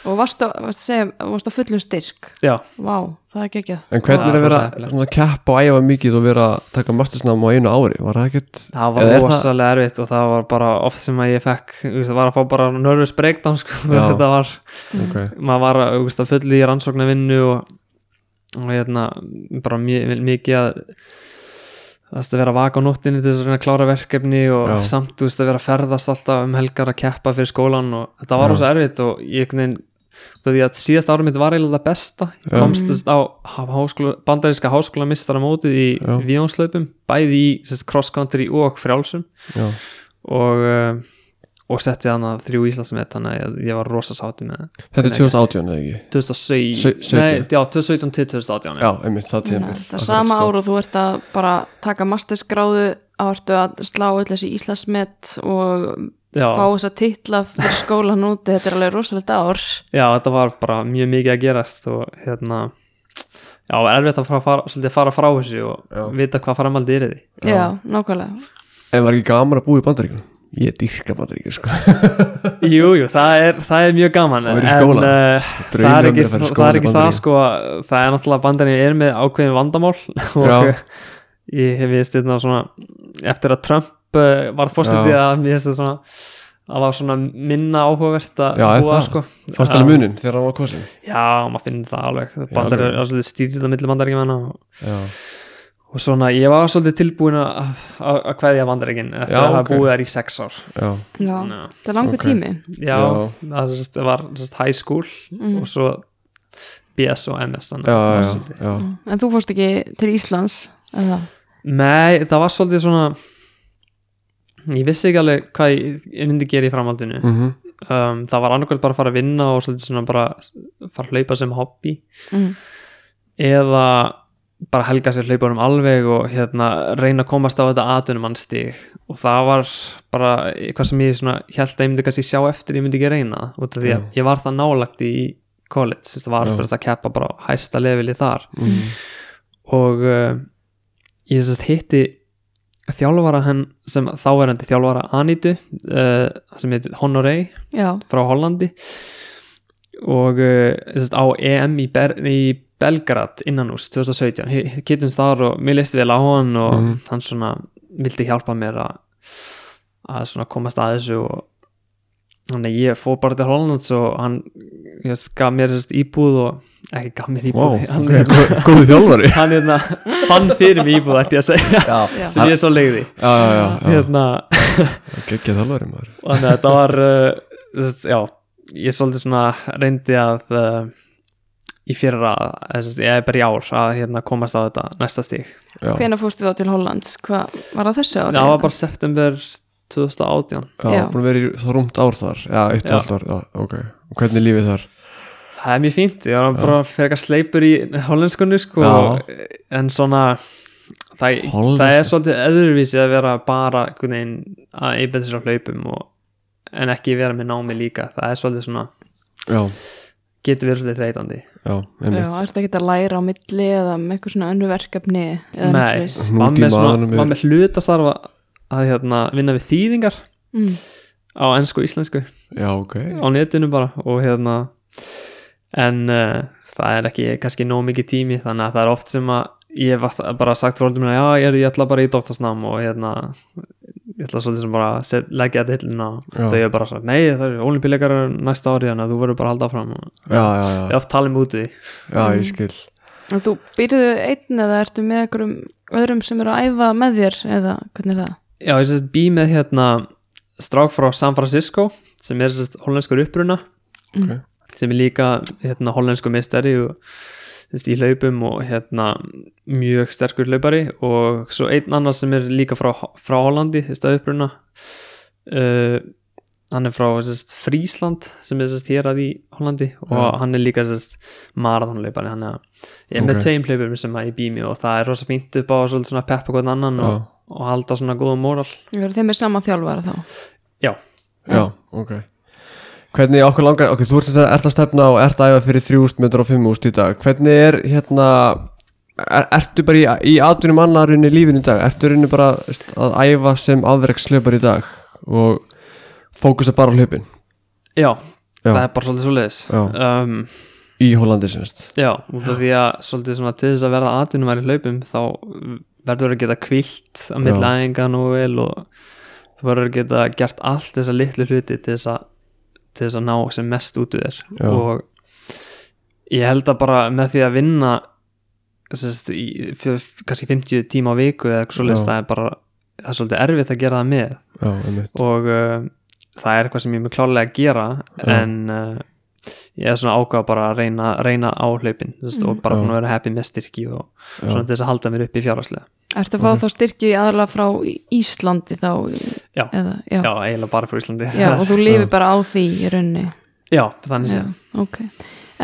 Speaker 1: og varst að, varst að segja, varst að fullum styrk
Speaker 3: Já,
Speaker 1: vá, það er geggjað
Speaker 2: En hvernig
Speaker 3: Já,
Speaker 2: er að vera
Speaker 3: rosa heppilegt.
Speaker 2: svona keppa og æfa mikið og vera að taka mastersnám á einu ári? Var það ekkert
Speaker 3: það var
Speaker 2: Eða er það-
Speaker 3: rosalega erfitt og það var bara oft sem að ég fekk þú veist, það var að fá bara nervous breakdown sko,
Speaker 2: Já.
Speaker 3: þetta var,
Speaker 2: okay.
Speaker 3: maður var þú veist, að fullu í rannsóknarvinnu og, og hérna bara mjög mikið að það veist, að vera vaka á nóttinni til þess að reyna að klára verkefni og
Speaker 2: Já.
Speaker 3: samt þú veist, að vera að ferðast alltaf um helgar að keppa fyrir skólan og þetta
Speaker 2: Já.
Speaker 3: var rosa erfitt og ég einhvern veginn þú veist, að síðast árum mitt var eiginlega það besta ég
Speaker 2: Já.
Speaker 3: komst þú veist, á háskóla, bandaríska háskólamistara mótið í
Speaker 2: Já.
Speaker 3: víjónslaupum bæði í sérst, cross country og frjálsum
Speaker 2: Já,
Speaker 3: og, eh, og setti þannig að þrjú Íslandsmet þannig að ég- ég var rosa sátti með það
Speaker 2: þetta er 2018 eða ekki?
Speaker 3: 2017
Speaker 2: Se-
Speaker 3: Nei,
Speaker 2: sautján.
Speaker 3: já, 2017 til 2018
Speaker 2: Já, einmitt, það sko.
Speaker 1: Þannig
Speaker 2: tímur
Speaker 1: að það er sama ár og þú ert að bara taka mastersgráðu ártu að slá öll þessi Íslandsmet og
Speaker 3: já,
Speaker 1: fá þess að titla fyrir skólan úti, þetta er alveg rosalegt ár
Speaker 3: já, þetta var bara mjög mikið að gerast og hérna já, var erfitt að fara, fara, svolítið, fara frá þessu og
Speaker 2: Já.
Speaker 3: vita hvað framaldið er því
Speaker 1: já, nákvæmlega
Speaker 2: En var ekki gaman að búa í bandaríkjum? Ég dýrka bandaríkjum sko
Speaker 3: Jú, jú, það er, það er mjög gaman
Speaker 2: Og
Speaker 3: en
Speaker 2: verið í skóla.
Speaker 3: uh, það er
Speaker 2: Draumur
Speaker 3: ekki
Speaker 2: mér að fara í
Speaker 3: það,
Speaker 2: skóla
Speaker 3: er
Speaker 2: í
Speaker 3: ekki það
Speaker 2: Bandaríkjunum.
Speaker 3: sko að- það er náttúrulega bandarinn er með ákveðin vandamál og
Speaker 2: Já.
Speaker 3: ég hef vist þetta svona eftir að Trump uh, var fórsetið
Speaker 2: Já.
Speaker 3: að mér finnst þetta svona að var svona minna áhugavert að
Speaker 2: Já, er
Speaker 3: búa
Speaker 2: það?
Speaker 3: sko
Speaker 2: Fannst
Speaker 3: Já.
Speaker 2: alveg munin þegar hann var kosin?
Speaker 3: Já, maður finnir það alveg bandar
Speaker 2: alveg.
Speaker 3: er svolítið stýrið á milli bandaríkjumanna og,
Speaker 2: Já,
Speaker 3: og svona, ég var svolítið tilbúin að að- að kveðja bandaríkin eftir
Speaker 2: Já,
Speaker 3: að hafa
Speaker 2: ok.
Speaker 3: búið þær í sex ár
Speaker 2: já,
Speaker 1: já,
Speaker 3: Já.
Speaker 1: það er langur
Speaker 2: Ok.
Speaker 1: tími
Speaker 3: Já,
Speaker 2: Já.
Speaker 3: það sest, var sest, high school og svo BS og MS þannig
Speaker 2: já,
Speaker 3: að það var
Speaker 2: já,
Speaker 3: svolítið-
Speaker 2: já.
Speaker 1: en þú fórst ekki til Íslands eða,
Speaker 3: Nei, það var svolítið svona ég vissi ekki alveg hvað ég, ég myndi gera í framhaldinu
Speaker 2: Mm -hmm.
Speaker 3: um, það var annarkvæmt bara að fara að vinna og svolítið svona bara fara að hlaupa sem hobby
Speaker 1: mm,
Speaker 3: eða bara helga sér hlaupunum alveg og hérna reyna að komast á þetta atunum hann stig og það var bara eitthvað sem ég svona held að ég myndi kannski sjá eftir ég myndi ekki reyna það, út af því að
Speaker 2: Já.
Speaker 3: ég var það nálagt í college, þess að var
Speaker 2: Já.
Speaker 3: bara að keppa bara á hæsta leveli þar
Speaker 2: Mm
Speaker 3: og uh, ég sérst hitti þjálfara hann sem þáverandi þjálfara Anitu uh, sem heitir Honoré
Speaker 1: já,
Speaker 3: frá Hollandi og uh, sérst, á EM í, Ber í Belgrad innanús 2017 Hi- hittumst þar og mér listi vel á hann og
Speaker 2: Mhm.
Speaker 3: hann svona vildi hjálpa mér að að svona komast að þessu og þannig að ég fór bara til Hollands og hann ég veist, gaf mér sérst, íbúð og ekki gaf mér
Speaker 2: Vá,
Speaker 3: íbúð hann,
Speaker 2: ok, gó- góðu þjálfari
Speaker 3: hann hérna fann fyrir mig íbúð ætti ég að segja
Speaker 2: Já,
Speaker 1: já.
Speaker 3: sem ég svo leiði
Speaker 2: já, já, já, já.
Speaker 3: hérna,
Speaker 2: Gekkið þjálfari maður
Speaker 3: og þannig að þetta var uh, þess, já, ég svolítið svona reyndi að uh, í fyrra, eða sem sagt, ég er bara í ár að hérna, komast á þetta næsta stík
Speaker 2: Já,
Speaker 1: hvena fórstu þá til Hollands hvað var það þessu ári?
Speaker 3: það var bara september 2018
Speaker 2: já,
Speaker 1: Já.
Speaker 2: búin að vera í það rúmt ár þar Já, eitt og
Speaker 3: Já.
Speaker 2: allt ár, já, ok Og hvernig er lífið þar?
Speaker 3: það er mjög fínt, ég var bara fyrir eitthvað sleipur í hollenskunni sko,
Speaker 2: Já.
Speaker 3: en svona það,
Speaker 2: Hollensku.
Speaker 3: það er svolítið öðruvísi að vera bara einhvern veginn, að einbæða sér á hlaupum og, en ekki vera með námi líka það er svolítið svona,
Speaker 2: Já,
Speaker 3: getur verið svolítið þreytandi
Speaker 2: já,
Speaker 1: já,
Speaker 2: einmitt
Speaker 1: ertu ekki að læra á milli eða með eitthvað svona önru verkefni eða
Speaker 3: Nei,
Speaker 1: neitt svoleiðis?
Speaker 3: var
Speaker 2: Hnút í
Speaker 3: með, svona,
Speaker 2: maganum er-
Speaker 3: var með hlutastarfa að hérna, vinna við þýðingar
Speaker 1: mm,
Speaker 3: á ennsku og íslensku
Speaker 2: Já, ok
Speaker 3: á netinu bara og hérna en uh, það er ekki kannski nóg mikið tími þannig að það er oft sem að ég hef að- bara sagt fóröldum minna já ég, er, ég ætla bara í doktorsnám og hérna ég ætla svolítið sem bara að set, leggja þetta hillina
Speaker 2: Já.
Speaker 3: og þau er bara svona nei það eru olimpíuleikar næsta ári þannig að þú verður bara að halda áfram og
Speaker 2: Já, já,
Speaker 3: ég
Speaker 2: já,
Speaker 3: oft tala um út í því.
Speaker 2: já, ég skil
Speaker 1: en þú byrjuðu einn eða ertu með einhverjum öðrum sem eru að æfa með þér eða hvernig er það?
Speaker 3: Já, ég sérst bý með hérna strák frá San Francisco sem er sérst hollenskur uppruna
Speaker 2: Ok.
Speaker 3: sem er líka hérna hollensku mistari og sérst í hlaupum og hérna mjög sterkur hlaupari og svo einn annar sem er líka frá, frá Hollandi sérst að uppruna uh, hann er frá sérst Frísland sem er sérst hér að í Hollandi og
Speaker 2: Já.
Speaker 3: hann er líka sérst marathonleipari hann er ég er
Speaker 2: Ok.
Speaker 3: með tveim hlaupum sem að ég bý með og það er rosa fínt upp á svolítið svona peppa hvernig annan
Speaker 2: Já.
Speaker 3: og, og halda svona góðum móral
Speaker 1: Þeir eru þeim er sama þjálfara þá
Speaker 3: Já.
Speaker 2: Já, ok Hvernig okkur langar, ok, þú ert sem sagt- ert að stefna og ert að æfa fyrir 3.500 úst í dag Hvernig er hérna er, Ertu bara í, í atvinnum annarunni lífinu í dag Ertu rauninni bara veist, að æfa sem afreikslöpar í dag og fókusa bara á hlöpin
Speaker 3: Já,
Speaker 2: Já.
Speaker 3: það er bara svolítið svoleiðis
Speaker 2: Já.
Speaker 3: um,
Speaker 2: í Hollandi semst
Speaker 3: Já, út af því að svolítið svona til þess að verða aðtunum í hlaupum þá verður að geta kvilt að milli
Speaker 2: Já.
Speaker 3: aðinga nú vel og þú verður að geta gert allt þessa litlu hluti til þess að, til þess að ná sem mest út úr þér
Speaker 2: Já.
Speaker 3: og ég held að bara með því að vinna sérst, í, fjö- kannski 50 tíma á viku eða eitthvað svoleiðis
Speaker 2: Já.
Speaker 3: það er bara það er svolítið erfitt að gera það með
Speaker 2: Já, einmitt
Speaker 3: og uh, það er eitthvað sem ég mun klárlega að gera
Speaker 2: Já.
Speaker 3: en uh, ég er svona ákvað bara að reyna, reyna á hlaupin þú veist, og bara
Speaker 2: Já.
Speaker 3: búin að vera happy með styrki og
Speaker 2: Mm. Já.
Speaker 3: svona til þess að halda mér upp í fjárhagslega
Speaker 1: Ertu að fá
Speaker 2: Ok.
Speaker 1: þá styrki aðalega frá Í- Íslandi þá?
Speaker 3: Já.
Speaker 1: Eða, já.
Speaker 3: já, eiginlega bara frá Íslandi
Speaker 1: Já, og þú lifir
Speaker 2: Já.
Speaker 1: bara á því í rauninni
Speaker 3: já þannig
Speaker 1: Já,
Speaker 3: séð.
Speaker 1: ok.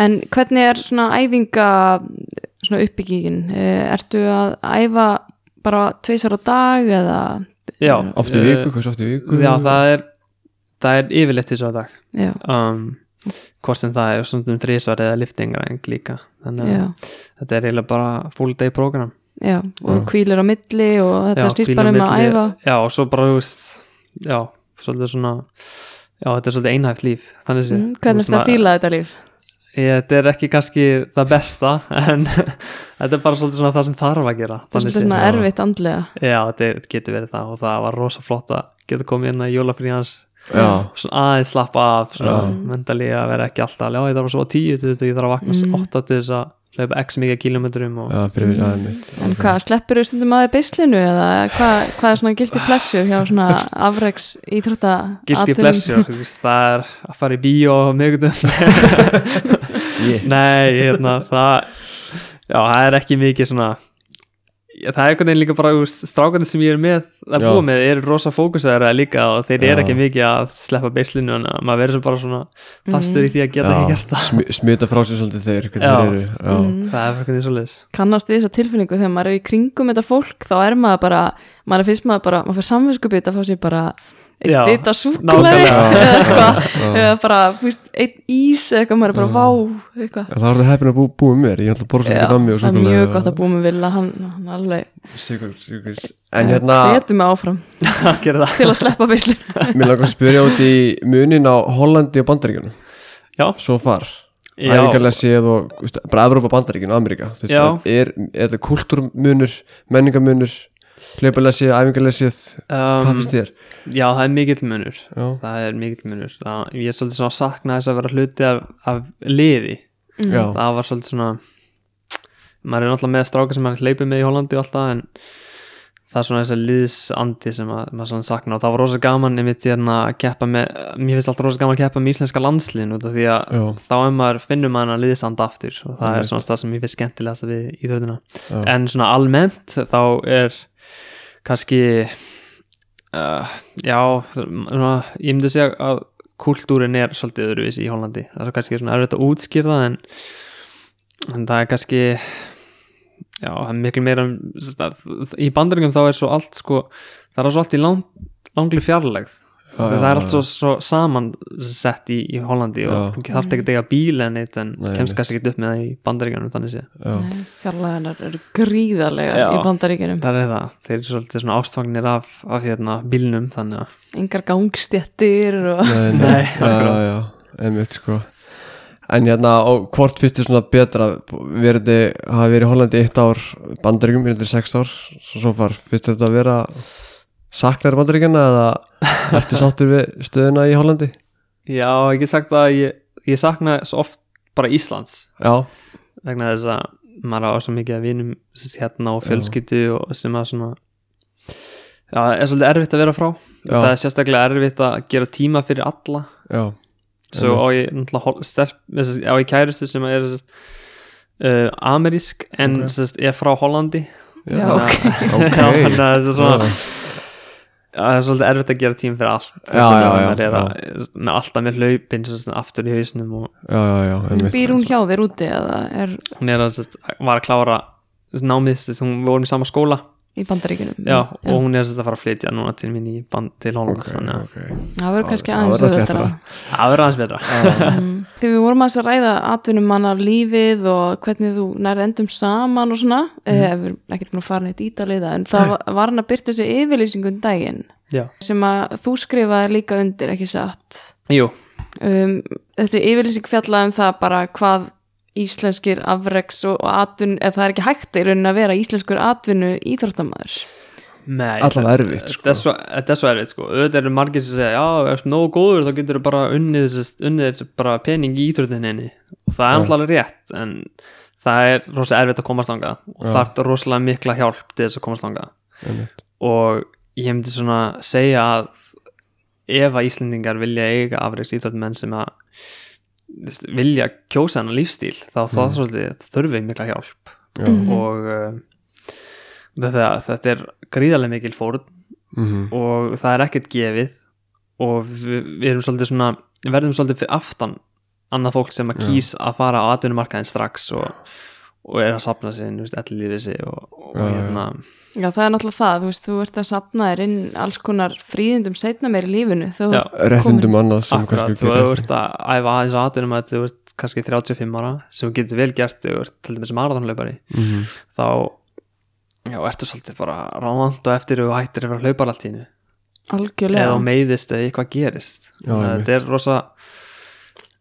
Speaker 1: En hvernig er svona æfinga svona uppbyggingin? Eh, Ertu að æfa bara tvisar á dag eða?
Speaker 3: já,
Speaker 2: Oft í
Speaker 3: eh,
Speaker 2: viku, hversu oft í viku
Speaker 3: já, það er það er yfirleitt því svo að dag
Speaker 1: Já,
Speaker 3: um, hvort sem það er svona þrísvar eða liftingar en líka þannig að
Speaker 1: já,
Speaker 3: þetta er eiginlega bara full day program
Speaker 1: já. Og
Speaker 2: Já.
Speaker 1: hvílir á milli og þetta
Speaker 3: Já,
Speaker 1: snýst
Speaker 3: hvíla
Speaker 1: bara
Speaker 3: á
Speaker 1: um að
Speaker 3: milli-
Speaker 1: æfa.
Speaker 3: já, og svo bara, þú veist já, svolítið svona já, þetta er svolítið einhæft líf þannig sé
Speaker 1: Mm, hvernig er þetta að fíla þetta líf?
Speaker 3: þetta er ekki kannski það besta en þetta er bara svolítið svona það sem þarf að
Speaker 1: Það
Speaker 3: gera
Speaker 1: er
Speaker 3: þannig
Speaker 1: svolítið svona
Speaker 3: séð.
Speaker 1: erfitt andlega.
Speaker 3: já, þetta er- getur verið það og það var rosa flott að geta komið inn að jólafrí hans
Speaker 2: Já,
Speaker 3: svona aðeins slappa af
Speaker 2: Já.
Speaker 3: svona mentali að vera ekki alltaf já, ég þarf að svo tíu til þetta, ég þarf að vakna
Speaker 1: Mm.
Speaker 3: mm. 8 til þess að hlaupa x mikið kilometrum og
Speaker 2: já, fyrir við aðeins mitt
Speaker 1: En hvað, sleppur þau stundum aðeins beislinu eða hvað, hvað er svona guilty pleasure hjá svona afreks ítrótta
Speaker 3: guilty pleasure, þú veist, það er að fara í bíó og mjögdum
Speaker 2: yeah.
Speaker 3: Nei, hérna, það Já, það er ekki mikið svona Já, Það er einhvern veginn líka bara þú veist, strákarnir sem ég er með að
Speaker 2: Já.
Speaker 3: búa með eru rosa fókusaður líka og þeir
Speaker 2: Já.
Speaker 3: eru ekki mikið að sleppa beislinu en maður verður svo bara svona fastur í því að geta
Speaker 2: Já,
Speaker 3: ekki gert það
Speaker 2: smi- Smita frá sér svolítið þeir, hvernig
Speaker 3: Já.
Speaker 2: þeir eru Já,
Speaker 1: Mm.
Speaker 3: Það er einhvern veginn svoleiðis
Speaker 1: kannast við þessa tilfinningu þegar maður er í kringum þetta fólk þá er maður bara, maður finnst maður bara maður fyrir samvinskupið að fá sér bara
Speaker 3: Já,
Speaker 1: eitt bita súkulegi
Speaker 3: nákvæmlega.
Speaker 1: eða eitthvað,
Speaker 2: Já.
Speaker 1: eða bara fúst, eitt ís eða eitthvað, maður er bara
Speaker 2: Já.
Speaker 1: vá eitthvað.
Speaker 2: En það var það heppin að bú, búið mér, ég ætla að borða svo
Speaker 1: Já,
Speaker 2: mikið nammi og
Speaker 1: það er
Speaker 2: súkkulaði
Speaker 1: mjög
Speaker 2: og-
Speaker 1: gott að búa með vilja hann, hann alveg
Speaker 2: Sigur, sigur En hérna,
Speaker 1: hvetum við áfram
Speaker 3: að gera það
Speaker 1: til að sleppa beislu
Speaker 2: mér langar að spyrja út í munin á Hollandi og Bandaríkjunum
Speaker 3: Já.
Speaker 2: Svo far
Speaker 3: Já.
Speaker 2: Æfingarlega séð og, veist, bara Evrópa Bandaríkjun og Ameríka Þú veist,
Speaker 3: Já.
Speaker 2: Er, er það kultúrmunur, menningamunur, hlauparlega séð, æfingarlega séð Hvað
Speaker 3: um,
Speaker 2: finnst þér?
Speaker 3: Já, það er mikill munur
Speaker 2: Já.
Speaker 3: Það er mikill munur það, Ég er svolítið svona að sakna þess að vera hluti af, af liði
Speaker 2: Já,
Speaker 1: Mm.
Speaker 3: það var svolítið svona maður er náttúrulega með stráka sem maður hleypur með í Hollandi og alltaf en það er svona þess að liðsandi sem að, maður svona sakna og það var rosa gaman einmitt hérna að keppa með, mér finnst alltaf rosa gaman að keppa með íslenska landslinn út af því að
Speaker 2: já,
Speaker 3: þá er maður finnum maður að liðsanda aftur og það
Speaker 2: Einmitt.
Speaker 3: er svona það sem ég finnst skemmtilegast við íþjóðina
Speaker 2: já.
Speaker 3: en svona almennt þá er kannski uh, já svona, ég myndi segja að kultúrin er svolítið öðruvísi í Hollandi það er kannski svona erfitt að útskýrða en, en það er kannski já, það er miklu meira um- sem sagt, í bandaringum þá er svo allt sko, það er svo allt í lang, langli fjarlægð
Speaker 2: já,
Speaker 3: það
Speaker 2: já,
Speaker 3: er allt svo,
Speaker 2: já.
Speaker 3: svo samansett í, í Hollandi og
Speaker 2: Já.
Speaker 3: þú þarft ekki að dega bíl en eitt en
Speaker 2: Nei,
Speaker 3: kemst
Speaker 2: einmitt.
Speaker 3: kannski ekki upp með það í bandaringunum þannig sé
Speaker 2: Já.
Speaker 1: fjarlæðanar eru gríðarlega
Speaker 3: Já.
Speaker 1: í bandaríkjunum
Speaker 3: Það er það, þeir eru svolítið svona ástfangnir af, af hérna bílnum þannig að
Speaker 1: engar gangstjettir og
Speaker 2: Nei,
Speaker 3: Nei,
Speaker 2: nei, já,
Speaker 3: akkurat.
Speaker 2: já, einmitt sko En hérna, og hvort finnst þér svona betra verði, hafa verið í Hollandi eitt ár bandaríkjum, verið sex ár svo svo far, finnst þér þetta að vera saknar bandaríkjana eða ertu sáttur við stöðuna í Hollandi?
Speaker 3: Já, ég get sagt að ég, ég sakna svo oft bara Íslands
Speaker 2: Já,
Speaker 3: vegna þess að maður á svo mikið að vinum sérst, hérna og
Speaker 2: Já.
Speaker 3: fjölskyldu og sem að svona Já, það er svolítið erfitt að vera frá
Speaker 2: Já.
Speaker 3: Það er sérstaklega erfitt að gera tíma fyrir alla
Speaker 2: já,
Speaker 3: Svo á
Speaker 2: Einmitt.
Speaker 3: ég náttúrulega hol- stelp, með sérst, á ég kæristu sem er sérst, uh, amerísk en
Speaker 2: Ok.
Speaker 3: sérst, er frá Hollandi
Speaker 1: já,
Speaker 3: Þannig
Speaker 1: ok
Speaker 3: að-
Speaker 2: ok.
Speaker 3: Já, þannig að þetta er svona
Speaker 2: Já.
Speaker 3: Já, það er svolítið erfitt að gera tím fyrir allt
Speaker 2: já,
Speaker 3: sérstaklega
Speaker 2: já,
Speaker 3: maður er að, með alltaf með hlaupin sem svona, aftur í hausnum og
Speaker 2: já, já, já, einmitt
Speaker 1: býr hún hjá þér úti eða er
Speaker 3: hún er að, sérst, var að klára þessi námið, sérst, hún við vorum í sama skóla
Speaker 1: í bandaríkunum
Speaker 3: já, og hún er sem sagt að fara að flytja núna til mín í band til Hollands þannig að
Speaker 2: okay.
Speaker 1: það verður kannski
Speaker 2: Já,
Speaker 1: aðeins
Speaker 2: það verður ekki
Speaker 1: auðveldara.
Speaker 3: það verður aðeins betra
Speaker 1: Mm. Þegar við vorum aðeins að ræða atvinnum mann af lífið og hvernig þú nærði endum saman og svona
Speaker 2: Mhm.
Speaker 1: mm. ef við erum ekkert búin að fara neitt ítalið en það var- var hann að byrta þessi yfirlýsingum daginn
Speaker 3: já,
Speaker 1: sem að þú skrifaði líka undir ekki satt
Speaker 3: jú,
Speaker 1: um, þetta er yfirlýsing fjallaði um það bara hvað íslenskir afreks og, og atvinnu, eða það er ekki hægt í raunin að vera íslenskur atvinnu íþróttamæður
Speaker 3: nei
Speaker 2: Allavega erfitt, sko.
Speaker 3: þetta er svo- þetta er svo erfitt sko auðvitað eru margir sem segja, já, ef þú nógu góður þá getur þú bara unnið, þessi- unnið bara pening í íþróttinni og það er alltaf alveg rétt en það er rosalega erfitt að komast þangað og
Speaker 2: Já.
Speaker 3: það er rosalega mikla hjálp til þess að komast þangað
Speaker 2: Einmitt.
Speaker 3: og ég myndi svona segja að ef að Íslendingar vilja eiga afreiks íþróttmenn sem að þú veist, vilja kjósa hennar lífstíl þá mm. það svolítið þurfi mikla hjálp
Speaker 2: Já.
Speaker 1: Mhm.
Speaker 3: og uh, þetta, þetta er gríðarlega mikil fórn
Speaker 2: Mhm.
Speaker 3: og það er ekkert gefið og við, við erum svolítið svona verðum svolítið fyrir aftan annað fólk sem að
Speaker 2: Já.
Speaker 3: kýs að fara á atvinnumarkaðin strax og, og er að sapna sinn, allir lífið sig og, og
Speaker 2: Já, já.
Speaker 3: hérna
Speaker 1: Já, það er náttúrulega það, þú veist, þú ert að sapna þér inn alls konar fríðindum setna meir í lífinu þú
Speaker 3: Já.
Speaker 1: ert
Speaker 2: réttindum annað sem
Speaker 3: Akkurat,
Speaker 2: kannski
Speaker 3: þú
Speaker 2: gerir
Speaker 3: ert að æfa aðeins aðdunum að þú ert kannski 35 ára sem þú getur vel gert þegar þú ert til dæmis marathonlaupari
Speaker 2: Mhm.
Speaker 3: þá já, ertu svolítið bara rámant og eftir og hættir að vera hlaupar allt í hennu
Speaker 1: algjörlega
Speaker 3: eða þú meiðist eða eitthvað gerist
Speaker 2: Já,
Speaker 3: Þannig að
Speaker 2: einmitt.
Speaker 3: þetta er rosa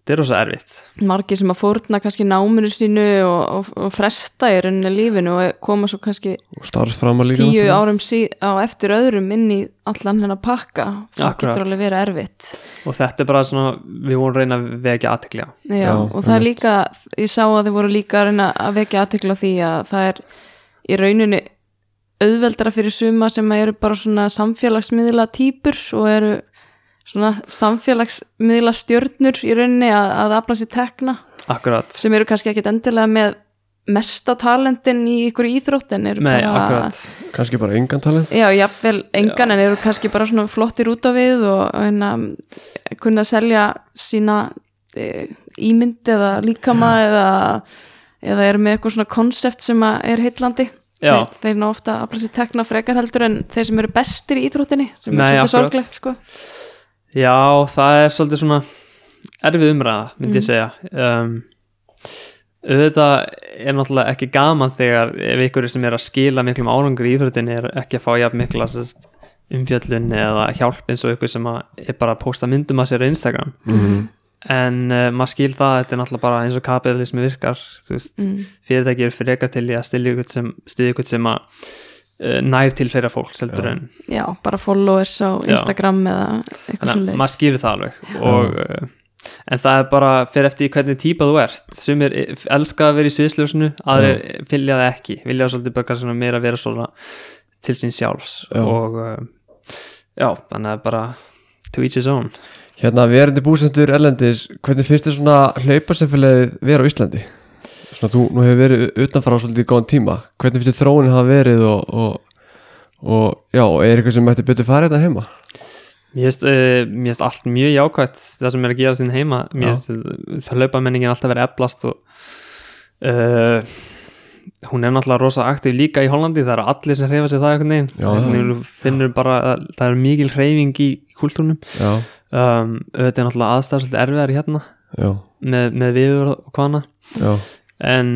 Speaker 3: þetta er rosa erfitt
Speaker 1: margir sem að fórna kannski náminu sínu og, og, og fresta í rauninni lífinu og koma svo kannski
Speaker 2: og starfsframar líka
Speaker 1: tíu
Speaker 2: náttúrulega.
Speaker 1: árum sí, á eftir öðrum inn í allan hennar pakka það
Speaker 3: Akkurat.
Speaker 1: getur alveg verið erfitt
Speaker 3: og þetta er bara svona, við vorum að reyna að vekja aðtekli á
Speaker 1: Já,
Speaker 2: Já,
Speaker 1: og það er líka, ég sá að þið voru líka að reyna að vekja aðtekla því að það er í rauninni auðveldara fyrir suma sem eru bara svona samfélagsmiðla týpur og eru svona samfélagsmiðla stjörnur í rauninni að, að afla sér tekna
Speaker 3: Akkurat,
Speaker 1: sem eru kannski ekkit endilega með mesta talentin í ykkur íþrótt en eru
Speaker 3: nei,
Speaker 1: bara
Speaker 3: akkurat
Speaker 2: kannski bara engan talent
Speaker 1: já, jafnvel engan en eru kannski bara svona flottir út á við og og hérna kunna að selja sína e, ímynd eða líkama eða, eða eru með eitthvað svona konsept sem að er heillandi
Speaker 3: Já.
Speaker 1: þeir, þeir ná ofta að bara sér tekna frekar heldur en þeir sem eru bestir í íþróttinni sem
Speaker 3: Nei,
Speaker 1: er svolítið
Speaker 3: akkurat.
Speaker 1: sorglegt sko
Speaker 3: Já, það er svolítið svona erfið umræða,
Speaker 1: Mm.
Speaker 3: myndi ég segja um, auðvitað er náttúrulega ekki gaman þegar ef ykkur sem er að skila miklum árangur í íþróttinni er ekki að fá jafn mikla sest, umfjöllun eða hjálp eins og ykkur sem að er bara að posta myndum að sér á Instagram
Speaker 2: Mhm.
Speaker 3: en uh, maður skil það, þetta er náttúrulega bara eins og kapitalismi virkar, þú veist
Speaker 1: mm.
Speaker 3: fyrirtæki eru frekar til í að stilla ykkur sem stilla ykkur sem að uh, nær til fleira fólk, seldur en
Speaker 1: já, bara followers á
Speaker 3: Já.
Speaker 1: Instagram eða eitthvað svo
Speaker 3: Þannig að maður skýrir það alveg og, uh, en það er bara fyrir eftir í hvernig típa þú ert sumir eh, elska að vera í sviðsljósinu aðrir vilja það ekki vilja svolítið bara svona meira vera svona til sín sjálfs
Speaker 2: Já.
Speaker 3: og uh, já, þannig að bara to each his own
Speaker 2: hérna verandi búsendur erlendis hvernig finnst þér svona hlauparsamfélagið vera á Íslandi svona þú nú hefur verið utanfrá svolítið í góðan tíma hvernig finnst þér þróunin hafa verið og, og, og já, og er eitthvað sem mætti betur farið þetta heima
Speaker 3: Mér finnst, uh, mér finnst allt mjög jákvæmt það sem er að gera sín heima
Speaker 2: Já.
Speaker 3: mér finnst eh, það hlaupamenningin alltaf verið eflast og uh, hún er náttúrulega rosa aktív líka í Hollandi, það eru allir sem hreyfa sig það einhvern veginn,
Speaker 2: Já,
Speaker 3: einhvern veginn þú finnur bara að það eru mikil hreyfing í kultúrnum
Speaker 2: já,
Speaker 3: um, auðvitað er náttúrulega aðstæður svolítið erfiðar hérna
Speaker 2: já,
Speaker 3: með, með viður og hvaðna
Speaker 2: já
Speaker 3: en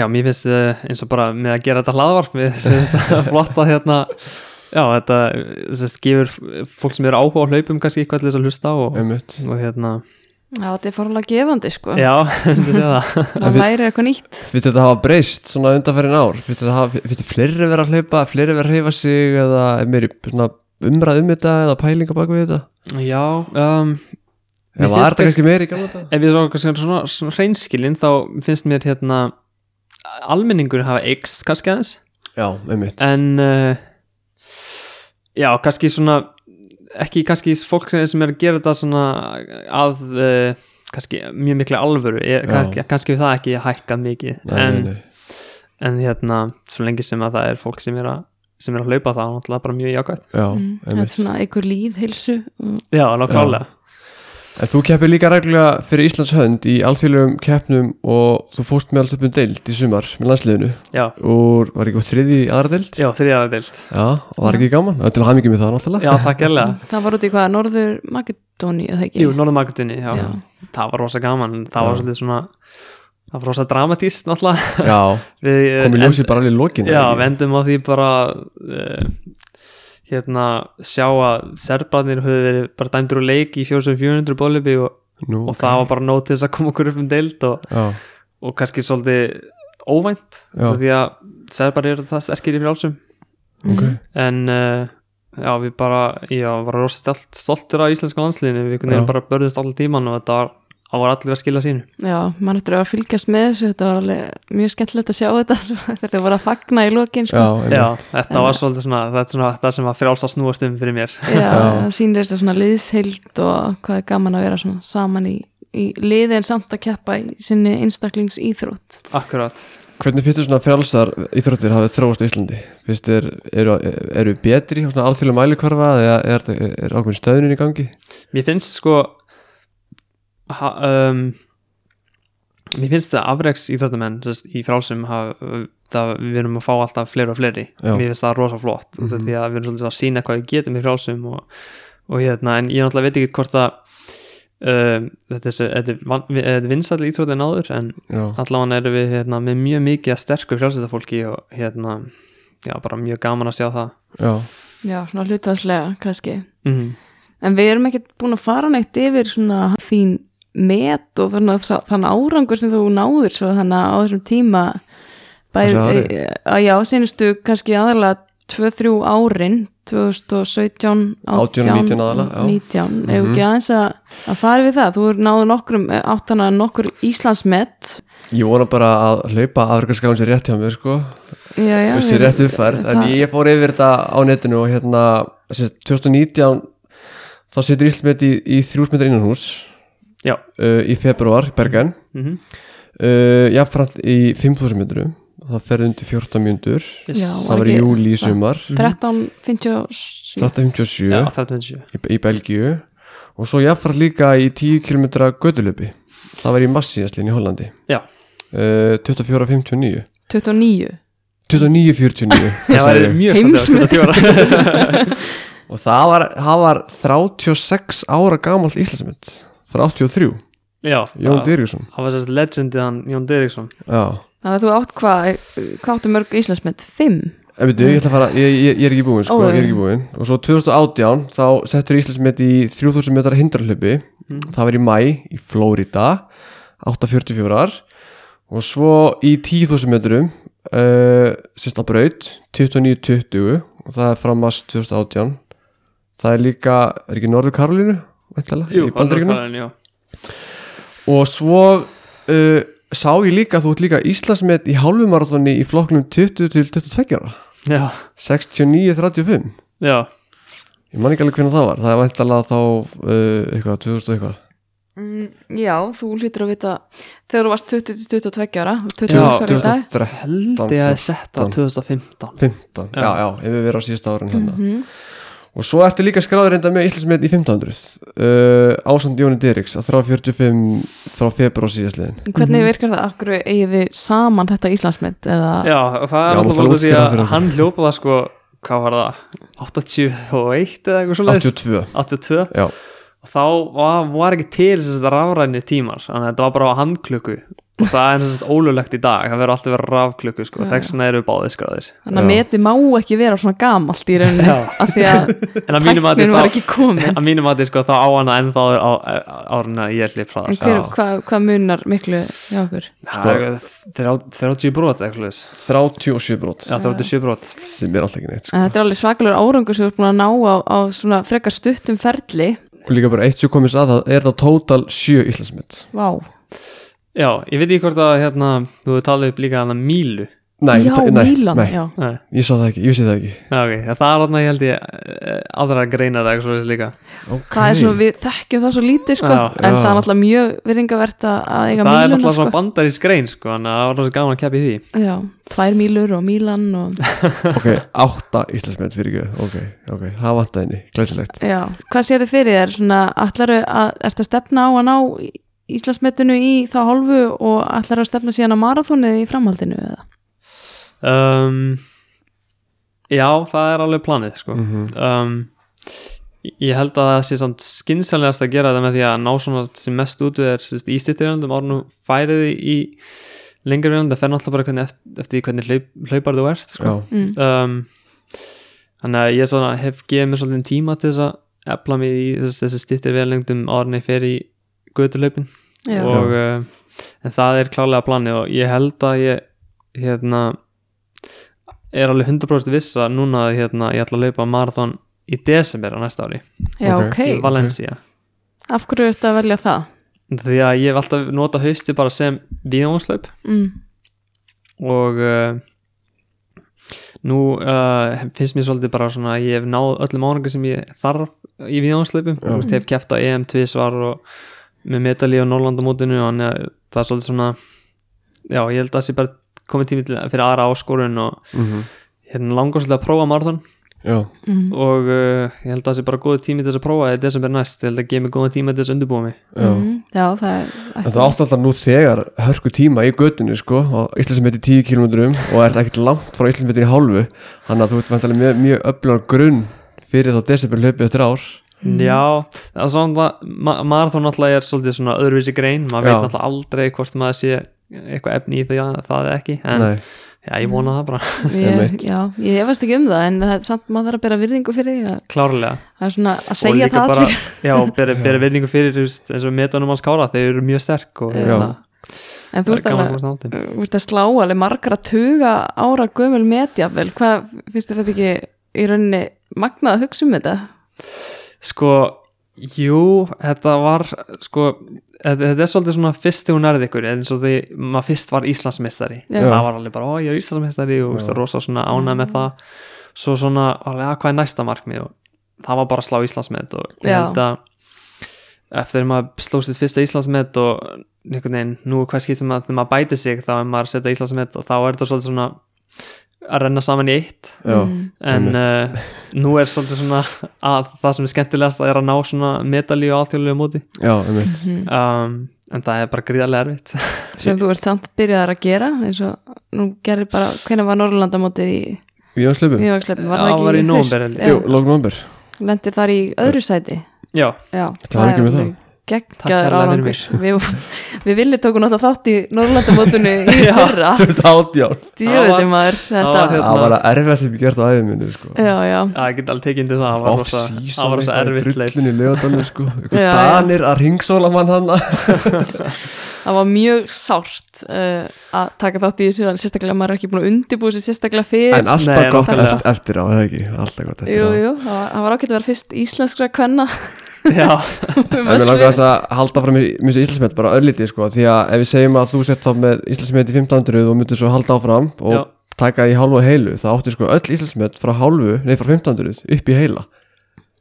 Speaker 3: já, mér finnst eh, eins og bara með að gera þetta hlaðvarp mér finnst það flott að hérna já, þetta sérst, gefur fólk sem eru áhuga á hlaupum kannski eitthvað til þess að hlusta og,
Speaker 2: einmitt
Speaker 3: og hérna,
Speaker 1: já, þetta er fórlega gefandi sko
Speaker 3: já, þetta sé það
Speaker 1: það læri eitthvað nýtt
Speaker 2: finnst þetta hafa breyst svona undanferðin ár finnst þetta hafa, finnst þetta fleiri vera að hlaupa fleiri vera að hreyfa sig eða er meiri svona umræð um þetta eða pælinga bak við þetta
Speaker 3: já, um, Mér
Speaker 2: eða var
Speaker 3: finnst
Speaker 2: þetta kannski meiri í gamla þetta
Speaker 3: ef ég svo kannski svona, svona hreinskilin þá finnst mér hérna almenningur hafa eikst kannski aðeins
Speaker 2: já, einmitt
Speaker 3: en uh, já, kannski svona ekki kannski fólk sem- sem er að gera þetta svona að uh, kannski mjög mikla alvöru er,
Speaker 2: Já.
Speaker 3: kannski, kannski við það ekki hækkað mikið
Speaker 2: nei,
Speaker 3: en,
Speaker 2: nei, nei.
Speaker 3: en hérna, svo lengi sem að það er fólk sem er að, sem er að hlaupa það, náttúrulega bara mjög jákvæmt
Speaker 2: já,
Speaker 1: Mm, þetta er
Speaker 2: einmitt
Speaker 1: svona einhver líðheilsu
Speaker 3: já, alveg klálega
Speaker 2: En þú keppir líka reglulega fyrir Íslands hönd í alþjóðlegum keppnum og þú fórst með alls upp um deild í sumar með landsliðinu
Speaker 3: já,
Speaker 2: og var ekki á þriði í aðra deild?
Speaker 3: já þriðara deild
Speaker 2: Já, og var ekki gaman? Það er til að hafa mikið með það náttúrulega
Speaker 3: já, takk hérlega
Speaker 1: Það var út í hvað, Norður Makedóni eða ekki?
Speaker 3: Jú, Norðumakutinni, já.
Speaker 1: Já.
Speaker 3: það var rosa gaman en það var
Speaker 2: Já.
Speaker 3: svolítið svona það var rosa dramatíst náttúrulega
Speaker 2: Já,
Speaker 3: Við, eh,
Speaker 2: komið
Speaker 3: end-
Speaker 2: ljósið bara alveg í lokin
Speaker 3: Já,
Speaker 2: eða ekki?
Speaker 3: vendum á því bara uh, hérna sjá að serbarnir höfðu verið bara dæmdur úr leik í 4400 bólibi og,
Speaker 2: Nú,
Speaker 3: og það var bara nóg til þess að koma okkur upp um deild og,
Speaker 2: já,
Speaker 3: og kannski svolítið óvænt
Speaker 2: Já.
Speaker 3: út af því að serbarnir eru það sterkir yfir allsum
Speaker 2: ok
Speaker 3: en uh, já, við bara já, var rosa stolt, stoltur af íslenska landsliðinu við einhvern
Speaker 2: Já.
Speaker 3: veginn bara börðist allan tíman og þetta var, það var allir að skila sínu
Speaker 1: Já, mann eftir að fylgjast með þessu, þetta var alveg mjög skemmtilegt að sjá þetta, svo þegar þau voru að fagna í lokin, sko.
Speaker 2: Já, einmitt.
Speaker 3: Já, þetta
Speaker 1: En-
Speaker 3: var svolítið svona, þetta er svona það sem að frjálsa snúast um fyrir mér
Speaker 1: Já,
Speaker 2: Já.
Speaker 1: það sýnir þess að svona liðsheild og hvað er gaman að vera svona saman í, í liði en samt að keppa í sinni einstaklings íþrótt.
Speaker 3: Akkurat
Speaker 2: Hvernig finnst þér svona frjálsar íþróttir hafið þróast á Íslandi? Finnst þér, eru, eru betri á svona alþjóðlega mælikvarfa eða er, er, er ákveðin stöðunin í gangi?
Speaker 3: Mér finnst sko ha, um, Mér finnst það afreks íþróttamenn sérst, í frálsum haf, það, við erum að fá alltaf fleiri og fleiri
Speaker 2: Já.
Speaker 3: Mér finnst það rosa flott mm
Speaker 2: Mhm.
Speaker 3: því að við erum svolítið að sína hvað við getum í frálsum og, og hérna, en ég náttúrulega veit ekki hvort að um, þetta er, svo- þetta er, van- vi- þetta er vinsall íþrótt en áður en
Speaker 2: Já,
Speaker 3: allavega erum við hérna, með mjög mikið að sterku frjálsættafólki og hérna, já, bara mjög gaman að sjá það
Speaker 2: já,
Speaker 1: Já, svona hlutvæðslega, kannski.
Speaker 2: Mhm.
Speaker 3: mm.
Speaker 1: En við erum ekkert búin að fara neitt yfir svona þín met og þannig, að- þann árangur sem þú náður svo þannig að á þessum tíma
Speaker 2: Þessu
Speaker 1: bæri,
Speaker 2: ári?
Speaker 1: e, að já, seinustu kannski aðalega 2-3 árin 2017,
Speaker 2: 18, 19 aðallega, já.
Speaker 1: 19, ef
Speaker 2: Mhm.
Speaker 1: ekki aðeins að, að fara við það, þú er náður nokkrum áttana nokkur Íslandsmet
Speaker 2: ég vona bara að hlaupa afrikarskáin sér rétt hjá mér sko
Speaker 1: já, já,
Speaker 2: þú veist, ég er rétt uppfærð, en
Speaker 1: það-
Speaker 2: ég fór yfir þetta á netinu og hérna sem sagt, 2019 þá situr Ísland í, í 3000 metra innanhús
Speaker 3: Já,
Speaker 2: uh, í februar, Bergen
Speaker 3: mm
Speaker 2: uh, jafnframt í 5000 metrum það ferði undir 14 mjöndur
Speaker 1: Já,
Speaker 2: það var í
Speaker 1: ekki-
Speaker 2: júli í sumar
Speaker 1: 13, 57
Speaker 2: 1357
Speaker 3: já 37
Speaker 2: í, í Belgíu og svo jafnframt líka í 10 km gödulöpi það var í Massíaslinn í Hollandi
Speaker 3: Já.
Speaker 2: uh, 2459
Speaker 1: 29
Speaker 2: 2949
Speaker 3: Já, það er mjög
Speaker 1: Heimsmet.
Speaker 2: og það var, það var 36 ára gamall Íslandsmynd frá 83,
Speaker 3: Já,
Speaker 2: Jón
Speaker 3: það-
Speaker 2: Dyrgjusson
Speaker 3: það var sérst legendið hann Jón Dyrriksson
Speaker 2: já,
Speaker 1: þannig að þú átt hvað hvað áttu mörg Íslandsmet? 5?
Speaker 2: en veitu, ég ætla að fara ég, ég, ég er ekki búinn, sko,
Speaker 1: Ó,
Speaker 2: ég er
Speaker 1: já.
Speaker 2: ekki búinn og svo 2018, þá settur Íslandsmynd í 3000 metrar hindralöpi það var í mæ, í Flórida 844 og svo í 10.000 metrum uh, sérst á braut 29.20 og það er frá mars 2018 það er líka, er ekki Norður Karolínu væntanlega, í bandaríkunum
Speaker 3: já.
Speaker 2: og svo uh, sá ég líka að þú ert líka Íslandsmet í hálfumarathoni í flokknum 20 til 22 ára
Speaker 3: já,
Speaker 2: 69.35
Speaker 3: já,
Speaker 2: ég man ekki alveg hvernig það var það er væntanlega þá uh, eitthvað 2000 og eitthvað
Speaker 1: Mm, Já, þú hlýtur að vita þegar þú varst 20-22 ára 26
Speaker 3: Já,
Speaker 1: ára í dag
Speaker 2: 2013
Speaker 3: held ég að setta 2015
Speaker 2: 15, já,
Speaker 3: Já.
Speaker 2: já, ef við verðum á síðasta árin hérna
Speaker 1: Mhm.
Speaker 2: og svo ertu líka skráður enda með Íslandsmet í 1500 uh, ásand Jóni Dyrriks að 345 frá februar síðastliðin
Speaker 1: Hvernig
Speaker 3: Mhm.
Speaker 1: virkar það? Akkur eigið þið saman þetta Íslandsmynd? Eða...
Speaker 3: Já, og það
Speaker 2: Já,
Speaker 3: er alltaf
Speaker 2: það
Speaker 3: bara því
Speaker 2: útskýra
Speaker 3: að
Speaker 2: fyrir okkur.
Speaker 3: hann hljópa það sko, hvað var það 81 eða eitthvað svo leiðis
Speaker 2: 82,
Speaker 3: 82
Speaker 2: já,
Speaker 3: og þá var, var ekki til þess að rafræni tímar þannig að þetta var bara á handklukku og það er þess að ólulegt í dag það verður alltaf verið rafklukku sko,
Speaker 1: Já.
Speaker 3: þess vegna eru báðið skráðir
Speaker 1: Þannig að
Speaker 2: Já.
Speaker 1: metið má ekki vera svona gamalt í rauninu
Speaker 3: Já.
Speaker 1: af því að
Speaker 3: en að mínum að
Speaker 1: tæknin var ekki komin
Speaker 3: að mínum að sko, þá á hana ennþá á, á, árin að ég hlip
Speaker 1: En
Speaker 3: hraðar
Speaker 1: hver,
Speaker 2: Já.
Speaker 1: hvað, hvað munar miklu hjá okkur?
Speaker 3: Það er eitthvað þrjá- 30 brot eitthvað svoleiðis.
Speaker 2: 37 brot
Speaker 3: Sko- Já, 37 brot
Speaker 2: sem er alltaf ekki neitt sko.
Speaker 1: En þetta er alveg svakalur árangur sem þú er búin að ná á, á svona frekar stuttum ferli
Speaker 2: og líka bara eitt sem komist að það er það total 7 Íslandsmet
Speaker 1: Vá,
Speaker 3: Já, ég veit ekki hvort að hérna, þú hefur talið upp líka hana Mílu
Speaker 2: nei,
Speaker 1: já,
Speaker 2: nei,
Speaker 1: Mílan,
Speaker 2: nei,
Speaker 1: já
Speaker 3: Nei,
Speaker 2: ég sá það ekki, ég sé það ekki
Speaker 3: já, ok, það er þarna ég held ég eh, aðra greinar eða eitthvað svoleiðis líka
Speaker 2: okay.
Speaker 1: það er svo, við þekkjum það svo lítið sko,
Speaker 3: Já.
Speaker 1: en
Speaker 2: Já.
Speaker 1: það er náttúrulega mjög virðingavert að- að eiga
Speaker 3: það er
Speaker 1: Míluna
Speaker 3: náttúrulega
Speaker 1: sko.
Speaker 3: svona bandarísk grein sko, þannig að það var náttúrulega gaman að keppa í því
Speaker 1: já, tvær Mílur og Mílan og,
Speaker 2: ok, átta íslensmenn fyrir göð ok, ok, það vantaði henni, glæsilegt
Speaker 1: já, hvað sér þið fyrir þér svona, ætlaru að, ertu að stefna á að ná Íslandsmetinu í þá hálfu og ætlaru að stefna síðan á marathónið í framhaldinu eða?
Speaker 3: um, já, það er alveg planið sko.
Speaker 2: mm -hmm.
Speaker 3: um, ég held að það sé samt skinsanlegast að gera þetta með því að ná svona sem mest út við er sérst, í stýttirjöndum árnum færið því í lengur jönd, það fer náttúrulega bara hvernig eftir, eftir því hvernig hlaup, hlaupar þú ert sko.
Speaker 2: já,
Speaker 1: Mm.
Speaker 3: um, þannig að ég svona hef gefið mér svolítið tíma til þess að efla mig í þess, þessi stýttir veðlengdum árni fer í götulöpin
Speaker 1: Já.
Speaker 3: og uh, en það er klálega planið og ég held að ég hérna er alveg 100% viss að núna að hérna, ég ætla að laupa marathon í desember á næsta ári
Speaker 1: já,
Speaker 2: ok.
Speaker 1: ok,
Speaker 3: í Valencia
Speaker 1: af hverju ertu að velja það?
Speaker 3: því að ég hef alltaf nota hausti bara sem víðjónslaup
Speaker 1: Mm.
Speaker 3: og uh, nú uh, finnst mér svolítið bara svona að ég hef náð öllum árangur sem ég þarf í viðjónslaupum
Speaker 2: Já.
Speaker 3: og hef keft á EM tvisvar og með medali og Norrlandamótinu og þannig að það er svolítið svona já, ég held að það sé bara komið tími til fyrir aðra áskorun og
Speaker 2: mm
Speaker 3: hérna langar svolítið að prófa marathon
Speaker 2: já,
Speaker 1: Mm.
Speaker 3: og uh, ég held að það sé bara góð tími til þess að prófa það í desember næst, ég held að gefa mig góða tíma til þess að undirbúa mig
Speaker 2: já
Speaker 1: Mm. já, það er
Speaker 2: En það átti alltaf nú þegar hörku tíma í götunni sko, og Íslandsmeti 10 km og er ekkert langt frá Íslandsmeti í hálfu þannig að þú ert vantilega mjög, mjög öflugan grunn fyrir þá desember hlaupið eftir ár
Speaker 3: Já, það er svona ma marathón náttúrulega er svolítið svona öðruvísi grein maður
Speaker 2: Já.
Speaker 3: veit náttúrulega aldrei hvort maður sé eitthvað efni í því að það er ekki en
Speaker 2: Nei,
Speaker 3: já, ég vona það bara
Speaker 1: ég,
Speaker 2: einmitt.
Speaker 1: já, ég hefast ekki um það en það er samt maður þarf að bera virðingu fyrir því að
Speaker 3: klárlega
Speaker 1: það er svona að
Speaker 3: og
Speaker 1: segja
Speaker 3: líka
Speaker 1: það
Speaker 3: bara,
Speaker 1: allir
Speaker 3: já, bera, bera vinningu fyrir þú veist, eins og metanum hans kára, þeir eru mjög sterk og
Speaker 1: Já.
Speaker 3: hérna,
Speaker 1: en
Speaker 3: það
Speaker 1: þú
Speaker 3: er
Speaker 1: ert
Speaker 3: gaman að
Speaker 1: alveg
Speaker 3: komast náttið
Speaker 1: þú ert að slá alveg margra tuga ára gömul metjafel hvað finnst þér þetta ekki í rauninni magnað að hugsa um þetta
Speaker 3: Sko, jú, þetta var sko, þetta, þetta er svolítið svona fyrst þegar hún erði ykkur, eins og því maður fyrst var Íslandsmeistari,
Speaker 1: Já.
Speaker 3: það var alveg bara, ó, ég er Íslandsmeistari og veist, rosa svona ánæð með það svo svona, alveg, að hvað er næsta markmið og það var bara að slá Íslandsmet og ég
Speaker 1: Já.
Speaker 3: held að eftir að maður sló sitt fyrsta Íslandsmet og einhvern veginn, nú er hvað skipt sem að þegar maður bæti sig þá er maður að setja Íslandsmet og þá er þetta svolítið svona að renna saman í eitt
Speaker 2: já,
Speaker 1: Mm.
Speaker 3: en
Speaker 2: Einmitt.
Speaker 3: uh, nú er svolítið svona að það sem er skemmtilegast að er að ná svona medalíu á alþjóðlegu móti
Speaker 2: já, einmitt
Speaker 1: Mhm.
Speaker 3: um, en það er bara gríðarlega erfitt
Speaker 1: sem þú ert samt byrjaðar að gera eins og nú gerir bara hvernig var Norrlandamótið í
Speaker 2: Við á slöpum,
Speaker 1: viðvangsleipum, var
Speaker 3: Um, Já,
Speaker 1: það
Speaker 3: var
Speaker 1: ekki
Speaker 3: í
Speaker 1: haust?
Speaker 3: nóvember, held ég.
Speaker 1: Já,
Speaker 2: jú, lók nómber
Speaker 1: lendir þar í öðru sæti
Speaker 3: já,
Speaker 1: Já,
Speaker 2: Það var ekki með það.
Speaker 3: Takk kærlega
Speaker 1: geggjaður
Speaker 3: fyrir
Speaker 1: árangur við, við viljum tókum náttúrulega þátt í Norrlandamótinu í
Speaker 3: Já.
Speaker 1: fyrra
Speaker 2: 2018
Speaker 3: Það
Speaker 1: djöði
Speaker 3: var-
Speaker 1: maður
Speaker 3: það
Speaker 1: þetta
Speaker 3: var hérna-
Speaker 2: Það var að erfa sem ég gert á æfum minni sko.
Speaker 1: já, já,
Speaker 3: að ég get alveg tekið undir það það var rosa- það var rosa erfitt leik
Speaker 2: Drullin í lögadalum sko Ykkur
Speaker 1: Já, já.
Speaker 2: danir að ringsóla mann hann
Speaker 1: það var mjög sárt uh, að taka þátt í þessu en sérstaklega maður er ekki búin að undibúið sér sérstaklega fyrir
Speaker 2: En alltaf
Speaker 3: Nei,
Speaker 2: gott
Speaker 3: nákvæmlega.
Speaker 2: eft- eftir á, eða ekki Alltaf gott eftir
Speaker 1: jú,
Speaker 2: á
Speaker 1: jú, það var, það var ágætt að vera fyrst íslenskra kvenna
Speaker 3: já,
Speaker 1: um öll
Speaker 2: En mér langar
Speaker 1: verið.
Speaker 2: þess að halda fram í mjög Íslandsmet bara örlítið sko, því að ef við segjum að þú sett þá með Íslandsmet í 1500 og myndir svo halda áfram og
Speaker 3: Já.
Speaker 2: taka í hálfu og heilu, þá átti sko öll Íslandsmet frá hálfu, nei frá 1500 upp í heila.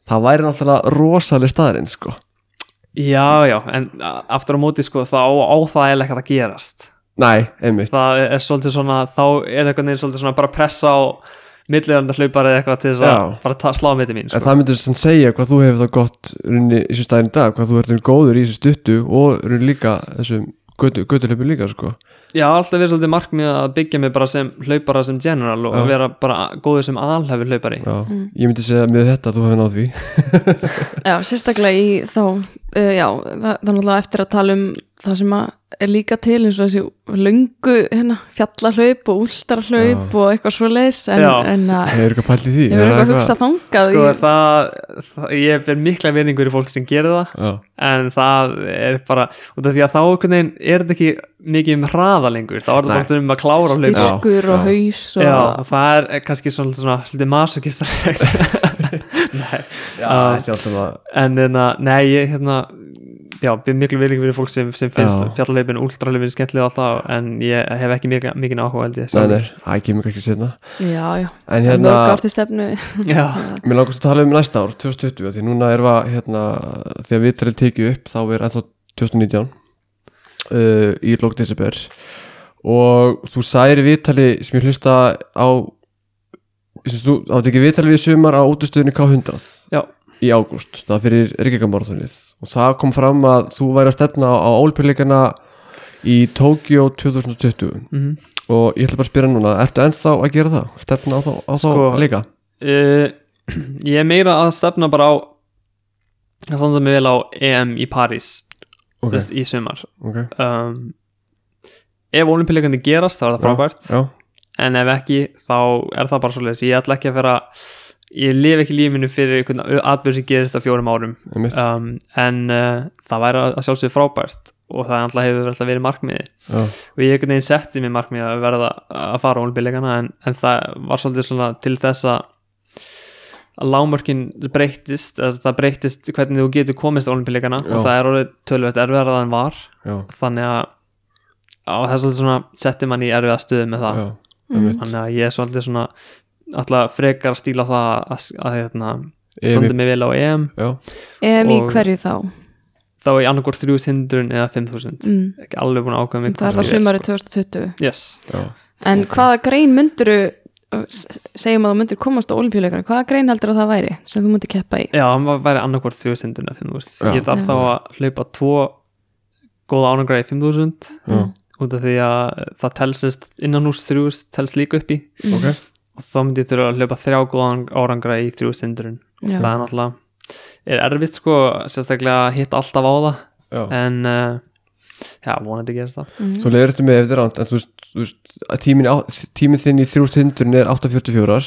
Speaker 2: Það væri náttúrulega rosaleg staðarinn sko.
Speaker 3: já, já en a- aftur á móti sko þá á það er ekkert að gerast
Speaker 2: Nei, einmitt.
Speaker 3: það er svolítið svona, þá er eitthvað neður svolítið svona bara pressa á milliðarndar hlaupar eða eitthvað til þess að
Speaker 2: Já.
Speaker 3: bara ta, slá mitti mín
Speaker 2: En
Speaker 3: sko.
Speaker 2: það myndir sem segja hvað þú hefur þá gott runni í þessu staðin í dag, hvað þú ert um góður í þessu stuttu og runni líka þessum götu, götulöpu líka sko.
Speaker 3: Já, alltaf verið svolítið markmið að byggja mig bara sem hlaupara sem general og
Speaker 2: Já.
Speaker 3: vera bara góður sem alhæfi hlaupari
Speaker 2: Já,
Speaker 1: Mm.
Speaker 2: ég myndi segja með þetta að þú hefur náð því.
Speaker 1: já, sérstaklega í þá uh, já, það, það er náttúrulega eftir að tala um það sem að er líka til eins og þessi löngu hérna, fjallahlaup og últarhlaup og eitthvað svoleiðis en,
Speaker 3: Já.
Speaker 1: en að
Speaker 2: Hefur eitthvað pælt í því?
Speaker 1: Ég verður
Speaker 2: Eða
Speaker 1: eitthvað að hugsa þangað
Speaker 3: Sko,
Speaker 1: ég,
Speaker 3: það, það, ég er mikla verningur í fólk sem gerir það
Speaker 2: Já.
Speaker 3: en það er bara, út af því að þá einhvern veginn er þetta ekki mikið um hraða lengur þá er
Speaker 2: Nei.
Speaker 3: þetta bara um að klára hlaupin
Speaker 2: Já,
Speaker 1: styrkur og
Speaker 2: já.
Speaker 1: haus og,
Speaker 3: Já, það er eh, kannski svona, svona svolítið masokistarlegt Nei,
Speaker 2: Já,
Speaker 3: Ah.
Speaker 2: ekki alltaf að
Speaker 3: en hérna, nei, ég, hérna já, ber miklu virðing fyrir fólk sem, sem finnst
Speaker 2: Já.
Speaker 3: fjallahlaupin, últralaupin, skemmtilega alltaf en ég hef ekki mikið, mikið áhuga held ég
Speaker 2: Nei,
Speaker 3: sjálfur.
Speaker 2: nei, það kemur kannski setna
Speaker 1: já, já,
Speaker 2: En
Speaker 1: hérna, mörg
Speaker 2: hérna,
Speaker 1: ár til stefnu
Speaker 3: Já,
Speaker 2: mér langast að tala um næsta ár 2020, af því núna er það hérna, því að við talið tekið upp þá er ennþá 2019 uh, í lók desember og þú særi viðtali sem ég hlusta á sem þú átt ekki viðtali við í sumar á útustöðinu K100
Speaker 3: Já.
Speaker 2: í ágúst, það fyrir Reykjavíkamarathonið og það kom fram að þú væri að stefna á álpillikana í Tokyo 2020
Speaker 3: mhm
Speaker 2: og ég ætla bara að spyrja núna ertu ennþá að gera það? stefna á þá, á þá
Speaker 3: Sko,
Speaker 2: líka?
Speaker 3: uh, ég er meira að stefna bara á að standa mig vel á EM í París
Speaker 2: Ok,
Speaker 3: okay. í sumar
Speaker 2: ok,
Speaker 3: um, ef olimpileikandi gerast þá er það frábært
Speaker 2: já,
Speaker 3: en ef ekki þá er það bara svoleiðis ég ætla ekki að vera ég lifi ekki lífinu fyrir einhvern atbyrð sem gerist á fjórum árum
Speaker 2: einmitt
Speaker 3: um, en uh, það væri að sjálfsögðu frábært og það alltaf hefur alltaf verið markmiði
Speaker 2: já,
Speaker 3: og ég einhvern veginn setti mér markmið að verða að fara á olimpíuleikana en, en það var svolítið svona til þess að að lámörkin breyttist eða það breyttist hvernig þú getur komist á olimpíuleikana
Speaker 2: Já.
Speaker 3: og það er orðið tölvöld erfiðara en var
Speaker 2: já,
Speaker 3: þannig að á þess að svona setti mann í erfiða stöðu með það
Speaker 2: já,
Speaker 1: mm.
Speaker 3: þannig að ég er svolítið svona alltaf frekar að stíla á það að, að, að hérna,
Speaker 2: EM í-
Speaker 3: standa mig vel á EM
Speaker 2: já,
Speaker 1: EM í
Speaker 3: Og-
Speaker 1: hverju þá
Speaker 3: þá er ég annarkvort 3000 eða 5000
Speaker 1: mm.
Speaker 3: ekki alveg búin að ákveða mig
Speaker 1: það er
Speaker 3: hvort
Speaker 1: það
Speaker 3: ég
Speaker 1: sumari
Speaker 3: sko.
Speaker 1: 2020
Speaker 3: yes.
Speaker 2: já,
Speaker 1: en hvaða grein mynduru segjum að þú myndir komast á olimpíuleikana hvaða grein heldur að það væri sem þú myndir keppa í
Speaker 3: Já, hann var- væri annarkvort 3000 eða 5000
Speaker 2: Já.
Speaker 3: Ég þarf
Speaker 1: Já.
Speaker 3: þá að hlaupa tvo góða ánagra í 5000
Speaker 2: já,
Speaker 1: Mm.
Speaker 3: út af því að það telsist innan hús 3000 telst líka upp í
Speaker 1: Mm.
Speaker 2: ok
Speaker 3: og þá myndi ég þurfa að hlaupa þrjá góða árang- árangra í 3000
Speaker 1: Já.
Speaker 3: það er náttúrulega er erfitt sko, sérstaklega að hitta alltaf á það
Speaker 2: já.
Speaker 3: en uh, já, vonandi gerist það
Speaker 1: Mm.
Speaker 2: svo leiður þetta með ef þetta er ránt en þú veist, þú veist að tímin, á- tímin þinn í 3000 er 844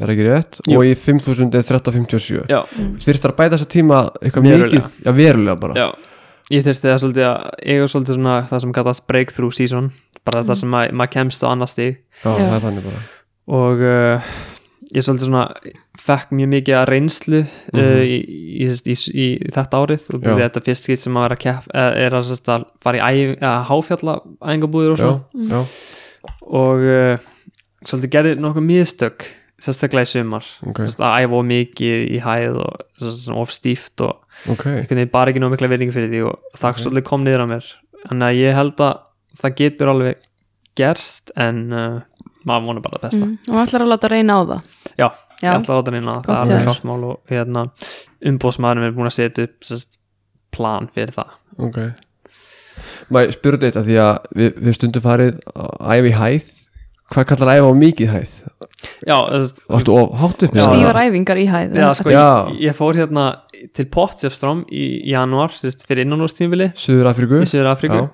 Speaker 2: er ekki rétt
Speaker 3: Jú.
Speaker 2: og í 5000 er 1357
Speaker 3: Já,
Speaker 2: þurftar að bæta þessa tíma eitthvað
Speaker 3: Verulega.
Speaker 2: mikið, já verulega bara
Speaker 3: já Ég þurfti að svolítið að eiga svolítið svona það sem kallast breakthrough season bara þetta sem að- maður kemst á annar stig
Speaker 2: já,
Speaker 1: Já.
Speaker 2: það er þannig bara
Speaker 3: og uh, ég svolítið svona fekk mjög mikið að reynslu uh,
Speaker 2: Mhm.
Speaker 3: í, í, í, í, í þetta árið
Speaker 2: Já.
Speaker 3: og því þetta fyrst skitt sem maður er að, kepp, eh, er að, sérst, að fara í æ, að háfjalla ængabúðir og
Speaker 2: já,
Speaker 3: svona
Speaker 2: já,
Speaker 3: og uh, svolítið gerði nokkuð mistök sérstaklega í sumar
Speaker 2: ok,
Speaker 3: okay. að æfa of mikið í hæð og sérst, svona of stíft og
Speaker 2: ok
Speaker 3: einhvern veginn bara ekki nóg mikla verðingi fyrir því og það
Speaker 2: Ok.
Speaker 3: svolítið kom niður á mér þannig að ég held að það getur alveg gerst en uh, maður vonar bara það besta
Speaker 1: Mm. og ætlar að láta reyna á það
Speaker 3: Já,
Speaker 1: já,
Speaker 3: ég ætla að láta hann inn að
Speaker 1: Gott
Speaker 3: það
Speaker 2: hjá
Speaker 3: er alveg
Speaker 2: þér.
Speaker 3: klart mál og hérna, umbóðsmaðurinn er búin að setja upp sest, plan fyrir það
Speaker 2: Ok Maður spyrur þetta því að við, við stundum farið að æfa í hæð Hvað kallar æfa á mikið hæð?
Speaker 3: Já, sest,
Speaker 2: Varstu of hátt upp?
Speaker 3: Já.
Speaker 1: stífar æfingar í hæð
Speaker 3: já, sko,
Speaker 2: Já.
Speaker 3: Ég, ég fór hérna til Potsdamström í janúar sest, fyrir innanúrstímfili
Speaker 2: Suður Afríku?
Speaker 3: í Suður Afríku
Speaker 2: Já.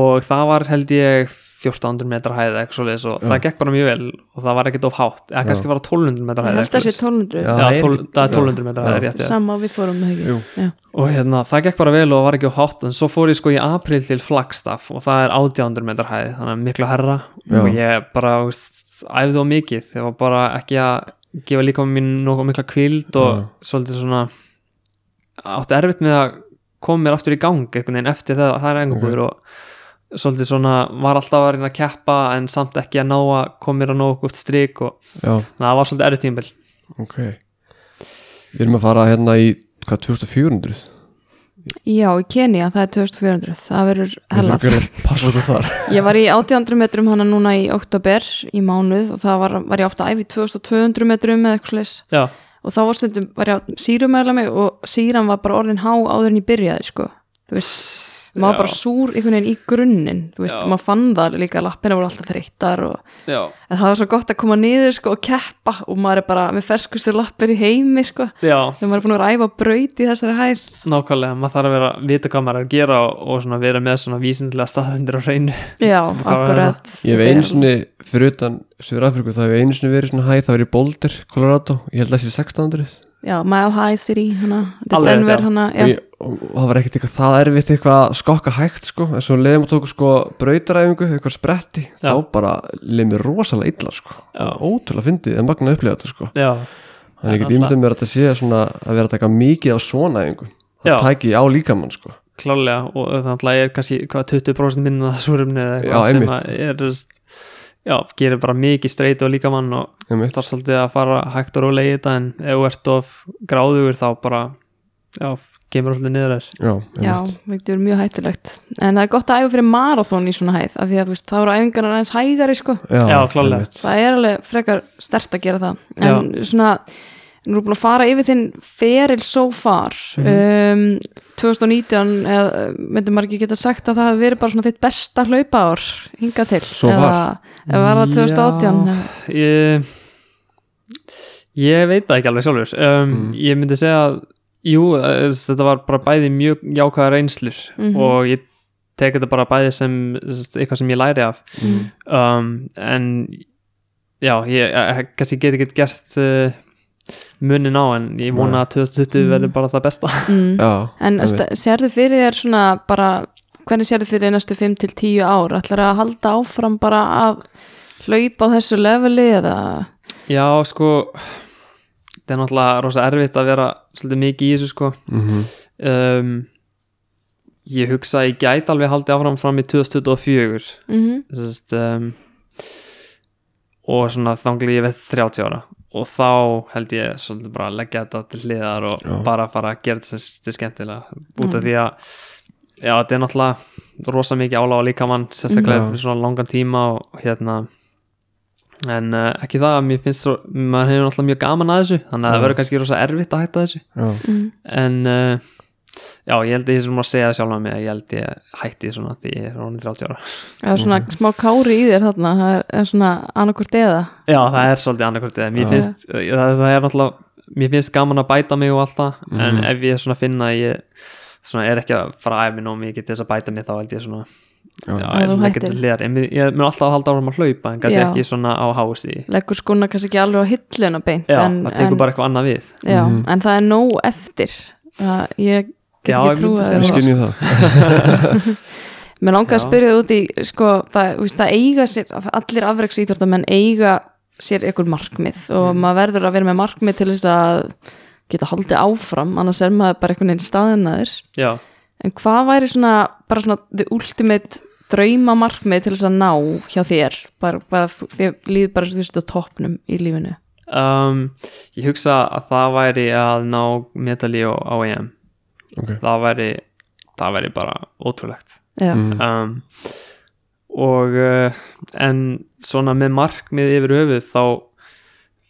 Speaker 3: og það var held ég 1400 metra hæð eða eitthvað svoleiðis og það gekk bara mjög vel og það var ekkert of hátt eða
Speaker 2: Já.
Speaker 3: kannski var það 1200 metra
Speaker 1: ég held
Speaker 3: hæð
Speaker 1: að
Speaker 3: eitthvað
Speaker 1: það sé
Speaker 3: svoleiðis.
Speaker 1: 1200
Speaker 2: Já.
Speaker 3: Já,
Speaker 2: Það er
Speaker 3: 12 það er
Speaker 2: já.
Speaker 3: 1200 metra
Speaker 2: Já.
Speaker 3: hæð rétt, já.
Speaker 1: sama við fórum með
Speaker 2: Jú.
Speaker 1: hugið
Speaker 3: og hérna það gekk bara vel og var ekki of hátt en svo fór ég sko í april til Flagstaff og það er 800 metrar hæð þannig að miklu herra
Speaker 2: Já.
Speaker 3: og ég bara þú veist, æfði á mikið ég var bara ekki að gefa líka mín nokkuð mikla kvild og
Speaker 2: Já.
Speaker 3: svolítið svona átti erfitt með að koma mér aftur í gang einhvern veginn eftir það, það er engubúður og svolítið svona var alltaf að reyna að keppa en samt ekki að ná að koma mér að ná okkur strik og
Speaker 2: Já,
Speaker 3: þannig að það var svolítið erfitt tímbil
Speaker 2: ok Við erum að fara hérna í hvað, 2400?
Speaker 1: já, í Kenya það er 2400 það verður
Speaker 2: Við
Speaker 1: hella
Speaker 2: þurfum að passa okkur þar
Speaker 1: Ég var í 800 metrum hana núna í oktober í mánuð og það var, var ég ofta æfi 2200 metrum eða eitthvað slags
Speaker 3: já,
Speaker 1: og þá var stundum, var ég að sírumæla mig og síran var bara orðin há áður en ég byrjaði sko, þú veist, maður
Speaker 3: Já.
Speaker 1: bara súr einhvern veginn í grunninn, þú veist,
Speaker 3: Já.
Speaker 1: maður fann það líka lappina voru alltaf þreyttar og
Speaker 3: já,
Speaker 1: en það var svo gott að koma niður sko og keppa og maður er bara með ferskustu lappir í heimi sko,
Speaker 3: já
Speaker 1: þegar maður er búin að vera að æfa á braut í þessari hæð
Speaker 3: Nákvæmlega, maður þarf að vera vita hvað maður er að gera og, og svona vera með svona vísindilega staðhendur á hreinu.
Speaker 1: Já,
Speaker 3: var
Speaker 1: akkurat Þetta
Speaker 2: Ég hef
Speaker 1: er-
Speaker 2: einu sinni, fyrir utan Suður Afríku Það hef ég einu sinni verið svona hæð, það verið í Boulder, Colorado Ég held að það sé 1600
Speaker 1: Já, Mile High City, hana, þetta
Speaker 3: Alveg
Speaker 1: er
Speaker 3: rétt,
Speaker 1: Denver,
Speaker 3: já.
Speaker 1: hana
Speaker 2: og, ég, og, og það var ekkert eitthvað það erfitt eitthvað að skokka hægt sko en svo leiðum að tóku sko brautaræfingu eitthvað spretti,
Speaker 3: Já.
Speaker 2: þá bara leið mér rosalega illa sko
Speaker 3: Já.
Speaker 2: ótrúlega fyndið en magna upplega þetta sko
Speaker 3: Já,
Speaker 2: þannig
Speaker 3: En
Speaker 2: ekki
Speaker 3: alltaf-
Speaker 2: dýmdum mér að þetta sé svona að vera að taka mikið á svona æfingu
Speaker 3: Já.
Speaker 2: það tæki á líkamann sko.
Speaker 3: klálega og þannig að ég er kannski hvað 20% minna að súrumni
Speaker 2: Já,
Speaker 3: eða eitthvað sem
Speaker 2: einmitt.
Speaker 3: að er þú veist, já, gerir bara mikið streit og líkamann og
Speaker 2: einmitt.
Speaker 3: þarf svolítið að fara hægt og rólega í þetta en ef þú ert of gráðugur þá bara já, kemur alltaf niður þér
Speaker 2: Já,
Speaker 1: Já,
Speaker 2: einmitt.
Speaker 1: þetta er mjög hættulegt en það er gott að æfa fyrir marathón í svona hæð af því að þú veist, þá eru æfingarnar aðeins hægari sko.
Speaker 3: Já, klárlega.
Speaker 2: einmitt.
Speaker 1: það er alveg frekar stert að gera það en svona, nú erum búin að fara yfir þinn feril so far um, 2019 eða, myndi maður ekki geta sagt að það hafi verið bara svona þitt besta hlaupaár hingað til
Speaker 2: So
Speaker 1: eða, eða var það 2018
Speaker 3: Já.
Speaker 1: eða-
Speaker 3: ég, ég veit það ekki alveg sjálfur um,
Speaker 2: Mm.
Speaker 3: ég myndi segja að jú, eh, þess- þetta var bara bæði mjög jákvæða reynslur
Speaker 1: Mhm.
Speaker 3: og ég tek þetta bara bæði sem þess- eitthvað sem ég læri af
Speaker 2: Mm.
Speaker 3: um, en já, ég eh, kannski get ekki gert uh, munin á en ég vona að 2020 verður bara það besta
Speaker 1: mm.
Speaker 2: Já,
Speaker 1: en
Speaker 2: einmitt.
Speaker 1: st- sérðu fyrir þér svona bara hvernig sérðu fyrir þér næstu 5 til 10 ár ætlar að halda áfram bara að hlaupa á þessu leveli eða
Speaker 3: já, sko þetta er náttúrulega rosa erfitt að vera svolítið mikið í þessu sko
Speaker 2: Mhm.
Speaker 3: um, ég hugsa að ég gæti alveg haldið áfram fram í 2024
Speaker 1: mm
Speaker 3: Sest, um, og svona þangli ég við 30 ára og þá held ég svolítið bara að leggja þetta til hliðar og
Speaker 2: Já.
Speaker 3: bara fara að gera þetta sem- sem skemmtilega út af því að já, þetta er náttúrulega rosa mikið álág á líkamann sérstaklega
Speaker 2: Mhm.
Speaker 3: fyrir svona langan tíma og hérna en uh, ekki það, mér finnst svo maður hefur náttúrulega mjög gaman að þessu þannig að
Speaker 2: Já.
Speaker 3: það verður kannski rosa erfitt að hætta þessu
Speaker 2: Já.
Speaker 1: Mm.
Speaker 3: en uh, já, ég held að ég sem að segja sjálf að mig að ég held ég hætti svona því ég er ronin 30 ára
Speaker 1: eða svona
Speaker 3: Mhm.
Speaker 1: smá kári í þér þarna það er, er svona annarkvort eða
Speaker 3: Já, það er svolítið annarkvöld eða mér
Speaker 2: Já.
Speaker 3: finnst, það, það er náttúrulega mér finnst gaman að bæta mig og allt það en
Speaker 2: Mhm.
Speaker 3: ef ég svona finna að ég svona er ekki að fara að æfa mig nóg mikið til þess að bæta mig þá held ég svona
Speaker 2: Já.
Speaker 3: já,
Speaker 1: Já,
Speaker 3: ég
Speaker 1: þú
Speaker 3: ætla ekki
Speaker 1: hættir.
Speaker 3: til hliðar, En mér- ég mun alltaf að halda áfram að hlaupa en kannski
Speaker 1: Já.
Speaker 3: ekki svona á hási
Speaker 1: leggur skona kannski ekki alveg á hilluna beint
Speaker 3: Já,
Speaker 1: en,
Speaker 3: það tekur
Speaker 1: en,
Speaker 3: bara eitthvað annað við
Speaker 1: já,
Speaker 2: Mhm.
Speaker 1: en það er nóg eftir það, ég get
Speaker 3: Já, ég
Speaker 1: ekki
Speaker 3: myndi
Speaker 1: trúa
Speaker 3: segja
Speaker 2: Ég
Speaker 3: það.
Speaker 1: það.
Speaker 2: skynju það
Speaker 1: mér langar að
Speaker 3: Já.
Speaker 1: spyrja það út í sko, það, þú veist, það eiga sér, að allir afreks íþórtamenn eiga sér einhver markmið og
Speaker 2: Mm.
Speaker 1: maður verður að vera með markmið til þess að geta haldið áfram annars er maður bara einhvern veginn staðinaður
Speaker 3: Já,
Speaker 1: en hvað væri svona bara svona the ultimate drauma markmið til þess að ná hjá þér bara, bara þú- þér líður bara svo þú sért á toppnum í lífinu
Speaker 3: um, ég hugsa að það væri að ná medali á, á EM
Speaker 2: okay.
Speaker 3: það væri, það væri bara ótrúlegt
Speaker 1: já,
Speaker 2: mm.
Speaker 3: um, og uh, en svona með markmið yfir höfuð þá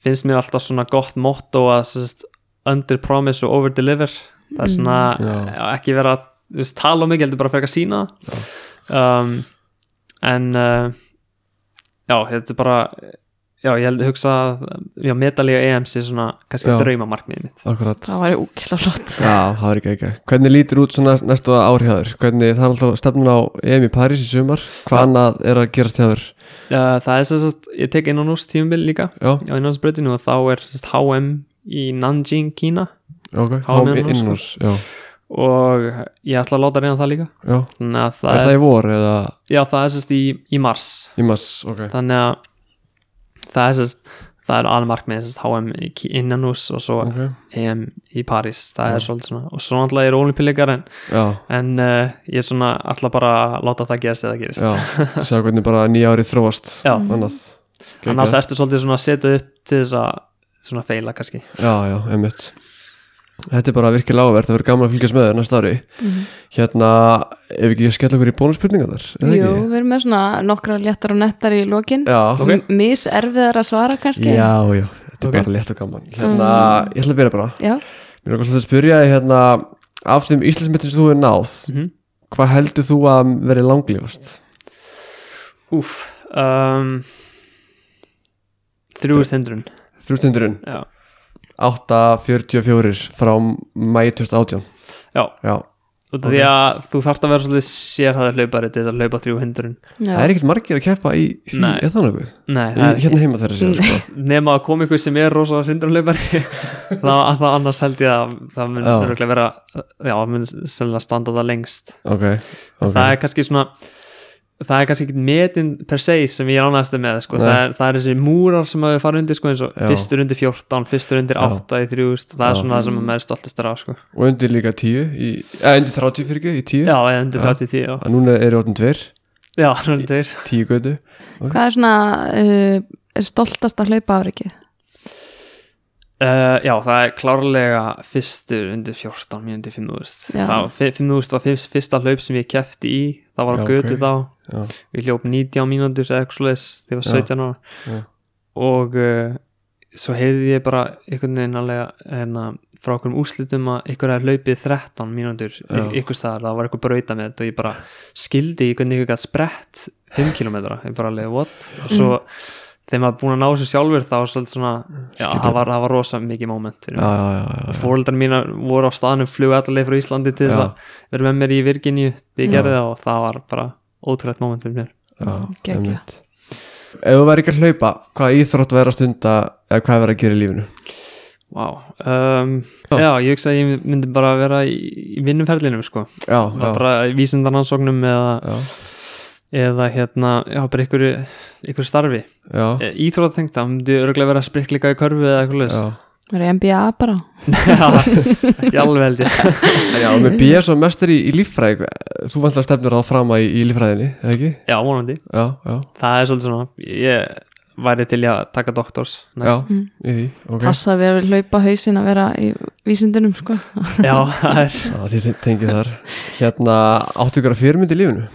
Speaker 3: finnst mér alltaf svona gott motto að sérst, under promise og over deliver það er svona
Speaker 2: Mm.
Speaker 3: ekki vera að þú veist, tala um mig, heldur bara frekar sína um, en uh, já, þetta er bara já, ég held hugsa að já, medalíu EM sé svona kannski
Speaker 2: Já.
Speaker 3: draumamarkmiðið mitt
Speaker 2: Akkurat
Speaker 1: það væri úkislega flott
Speaker 2: Já, það er ekki ekki Hvernig lítur út svona næstu árhjáður? Hvernig það er alltaf stefnun á EM í París í sumar? Hvað annað er að gerast hjáður?
Speaker 3: uh, það er sérst, ég tek innan úr tímubil líka
Speaker 2: Já,
Speaker 3: á innanlandsbrautinu og þá er sérst, HM í Nanjing, Kína
Speaker 2: ok
Speaker 3: Hám
Speaker 2: Hám
Speaker 3: innanhúss,
Speaker 2: innanhús Já,
Speaker 3: og ég ætla að láta reyna það líka
Speaker 2: já
Speaker 3: þannig að
Speaker 2: Er
Speaker 3: það
Speaker 2: það í vor eða
Speaker 3: já, það er sérst í, í mars
Speaker 2: í mars? Ok
Speaker 3: þannig að það er sérst það er almarkmið sérst HM í Kí- innan hús og svo
Speaker 2: Ok
Speaker 3: EM í París það
Speaker 2: Já.
Speaker 3: er svolítið svona og svo alltaf er olimpíuleikar en,
Speaker 2: Já,
Speaker 3: en uh, ég er svona alltaf bara að láta það gerast eða gerist
Speaker 2: já Sjá hvernig bara nýja árið þróast
Speaker 3: Já.
Speaker 2: Annað
Speaker 3: annars
Speaker 2: Geggjað.
Speaker 3: ertu svolítið svona að setja upp til þess að svona feila kannski
Speaker 2: Já, já, emmitt Þetta er bara virkilega áverð, það verður gaman að fylgjast með þér næsta ári
Speaker 3: Mhm.
Speaker 2: Hérna, ef ekki ég skella okkur í bónusspurningarnar
Speaker 1: jú, við erum með svona nokkra léttar og nettar í lokin
Speaker 2: Já,
Speaker 3: Ok.
Speaker 1: mis erfiðar að svara kannski
Speaker 2: Já, já, þetta er
Speaker 3: Ok.
Speaker 2: bara létt og gaman
Speaker 3: Ah.
Speaker 2: Hérna, ég ætla að byrja bara
Speaker 1: Já.
Speaker 2: Mér er svolítið að spyrja þig, hérna Af þeim Íslandsmyndum sem þú er náð
Speaker 3: Mhm.
Speaker 2: Hvað heldur þú að veri langlífast?
Speaker 3: Úf um, Þrjúur stendurinn
Speaker 2: Þrjústundurinn,
Speaker 3: Já,
Speaker 2: 8.44 frá mæ 2018
Speaker 3: já
Speaker 2: Já,
Speaker 3: út af því að þú þarft að vera svolítið sérhæður hlaupari til þess að hlaupa þrjú hundurinn
Speaker 2: það er ekkert margir að keppa í því
Speaker 3: Nei.
Speaker 2: eða þannig
Speaker 3: Nei, það er
Speaker 2: Hérna heima þeirra sér sko.
Speaker 3: nema að koma ykkur sem er rosa hundurinn hlaupari þá að það annars held ég að það mun
Speaker 2: Já.
Speaker 3: örugglega vera já, það mun sennilega standa það lengst
Speaker 2: Ok, ok
Speaker 3: það er kannski svona það er kannski ekki metin per se sem ég er ánægast með sko.
Speaker 2: Nei.
Speaker 3: það, er, það er þessi múrar sem hafa farið undir sko, eins og
Speaker 2: Já.
Speaker 3: fyrstur undir 14, fyrstur undir
Speaker 2: Já.
Speaker 3: 8 í 3000, það er
Speaker 2: Já.
Speaker 3: svona það sem maður er stoltastur á sko.
Speaker 2: og undir líka 10 í, eða undir 30 fyrir ekki í 10
Speaker 3: já, eða undir
Speaker 2: Já.
Speaker 3: 30 10 já,
Speaker 2: að núna eru orðin tveir,
Speaker 3: já undir
Speaker 2: 10 götu
Speaker 1: Hvað er svona uh, stoltast að hlaupa afrikið?
Speaker 3: Uh, já, það er klárlega fyrstur undir 14 mínúti 5000
Speaker 1: Já.
Speaker 3: Þá- fi- 5000 var fyrst, fyrsta hlaup sem ég kefti í það var á
Speaker 2: Já,
Speaker 3: götu
Speaker 2: ok.
Speaker 3: þá
Speaker 2: Já.
Speaker 3: ég hljóp 90 mínútur eða eitthvað svoleiðis þegar ég var
Speaker 2: Já.
Speaker 3: 17 ára
Speaker 2: Já.
Speaker 3: og uh, svo heyrði ég bara einhvern veginn alveg hérna, frá okkur úrslitum að ykkur er hlaupið 13 mínútur
Speaker 2: Já.
Speaker 3: ykkur staðar, það var eitthvað brauta með þetta og ég bara skildi í hvernig ykkur gætt sprett 5 kilometra, ég bara alveg what og svo
Speaker 2: Mm.
Speaker 3: þegar maður er búin að ná þessu sjálfur þá var svolítið svona, já,
Speaker 2: Skilur.
Speaker 3: það var, það var rosa mikið moment
Speaker 2: já, já, já, já, já.
Speaker 3: fóröldar mínar voru á staðnum flugu allaveg frá Íslandi til þess
Speaker 2: Já.
Speaker 3: að vera með mér í Virginju þegar ég
Speaker 2: Já.
Speaker 3: gerði það og það var bara ótrúlegt moment fyrir mér
Speaker 2: já
Speaker 1: Geggjað.
Speaker 2: einmitt. ef þú væri ekki að hlaupa hvað íþrótt væri að stunda eða hvað væri að gera í lífinu
Speaker 3: wow. um,
Speaker 2: Já.
Speaker 3: já, ég hugsa að ég myndi bara vera í, í vinnuferlinum sko,
Speaker 2: já, já,
Speaker 3: bara í vísindaransóknum eða,
Speaker 2: já,
Speaker 3: eða hérna, já, bara ykkur, ykkur starfi
Speaker 2: já,
Speaker 3: e, íþrótatengt, það myndi örgulega vera að sprikleika í körfu eða eitthvað leis
Speaker 2: já.
Speaker 1: Það er NBA bara.
Speaker 3: ekki alveg held ég
Speaker 2: Já, og með BS og mestur í, í líffræði þú vantlega stefnir þá fram að í, í líffræðinni eða ekki?
Speaker 3: já, vonandi,
Speaker 2: Já, já,
Speaker 3: það er svolítið svona ég væri til í að taka doktors
Speaker 2: já,
Speaker 3: næst.
Speaker 2: í því ok,
Speaker 1: Passa að vera að hlaupa hausin að vera í vísindunum sko.
Speaker 3: já, það er
Speaker 2: Já, þið tengið þar Hérna, áttu ykkur að fyrirmynd í lífinu?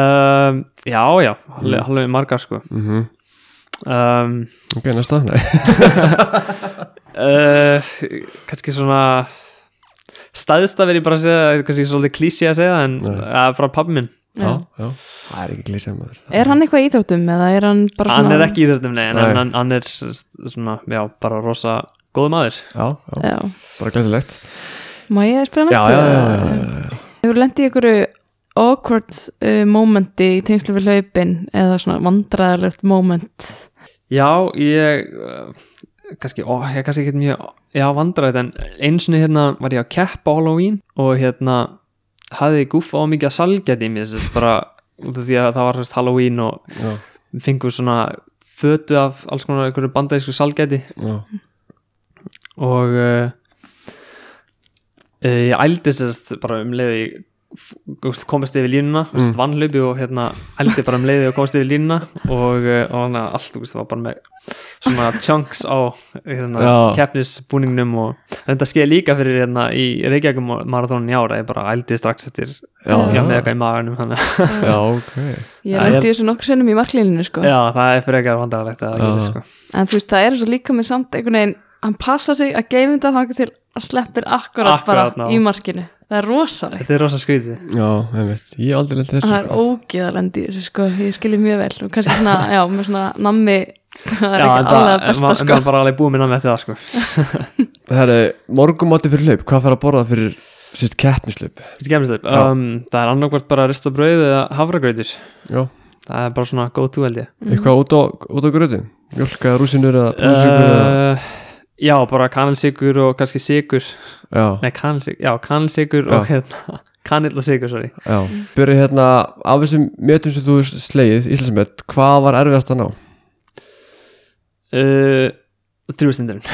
Speaker 3: um, Já, já, alveg, alveg margar sko
Speaker 2: Mm
Speaker 3: um,
Speaker 2: Ok, næsta, nei
Speaker 3: uh, Kannski svona staðist að vera ég bara að segja kannski svolítið klísi að segja en
Speaker 2: Nei.
Speaker 3: að frá pabbi minn
Speaker 2: Já,
Speaker 1: Já.
Speaker 2: já, það er ekki glísað maður
Speaker 1: Er hann eitthvað í íþróttum eða er hann bara
Speaker 3: Hann
Speaker 1: svona
Speaker 3: er ekki í þessum neginn
Speaker 2: Nei.
Speaker 3: en hann, hann er s- svona, já, bara rosa góð maður
Speaker 2: Já, já,
Speaker 1: Já.
Speaker 2: bara glæsilegt
Speaker 1: Má ég spyrja
Speaker 2: já,
Speaker 1: næstu?
Speaker 2: já, já, já, já, já.
Speaker 1: Hefur lendið í einhverju awkward uh, momenti í tengslu við hlaupin eða svona vandræðilegt moment
Speaker 3: Já, ég uh, kannski, ó, ég kannski ekki mjög já, vandræði en eins og hérna var ég að keppa á Halloween og hérna hafði ég gúfa á mikið að salgæti í mér þess bara út af því að það var þú veist, Halloween og
Speaker 2: já,
Speaker 3: fengum svona fötu af alls konar einhverju bandarísku salgæti
Speaker 2: já.
Speaker 3: og uh, uh, ég ældi sérst bara um leiði komist yfir línuna, mm. vannlaupi og hérna ældi bara um leiði og komist yfir línuna og, uh, og hann að allt þú veist, var bara með svona chunks á hérna,
Speaker 2: Já.
Speaker 3: keppnisbúningnum og þetta skeið líka fyrir hérna í Reykjavík marathónin í ára, ég bara ældi strax eftir
Speaker 2: Já,
Speaker 3: já, með
Speaker 2: já.
Speaker 3: eitthvað í maganum þannig að
Speaker 2: já, ok
Speaker 1: Ég
Speaker 3: Já, ég-
Speaker 1: lendi þessu nokkur sinnum í marklíninu sko.
Speaker 3: já, það er fyrir ekki að vandrarlegt að það
Speaker 2: Já.
Speaker 3: gerist, sko.
Speaker 1: en þú veist það er svo líka með samt einhvern veginn hann passa sig að gefa þetta þangar til að sleppir akkurat,
Speaker 3: Akkúrat,
Speaker 1: bara
Speaker 3: já.
Speaker 1: í markinu það er rosalegt
Speaker 3: þetta er rosa skrítið
Speaker 2: Já, einmitt, ég hef aldrei lent í þessu
Speaker 1: það er ógeð að lendi þessu sko ég skilji mjög vel og kannski svona, já, með svona nammi það er
Speaker 3: Já,
Speaker 1: ekki
Speaker 3: en það-
Speaker 1: alveg að
Speaker 3: ma-
Speaker 1: besta
Speaker 3: en
Speaker 1: sko
Speaker 3: maður bara alveg búið minna með þetta sko.
Speaker 2: Það er morgumátti fyrir hlaup, hvað fær að borða fyrir sérst keppnislaup?
Speaker 3: Fyrir kemst upp
Speaker 2: Já.
Speaker 3: um, Það er annarkvært bara að rista brauð eða hafragrautir
Speaker 2: Já,
Speaker 3: Það er bara svona go to held ég
Speaker 2: eitthvað út á, út á gröðu? Jólka, rúsinur
Speaker 3: Eh,
Speaker 2: eða brúsinur eða
Speaker 3: uh, Já, bara kanilsikur og kannski sikur
Speaker 2: Já,
Speaker 3: Nei, kanilsikur, já, kanilsikur og hérna Kanill og sikur, sorry
Speaker 2: já Byrju hérna, af þessum metum sem þú hefur slegið, Íslandsmet, hvað var erfiðast að ná?
Speaker 3: uh, Þrjústindurinn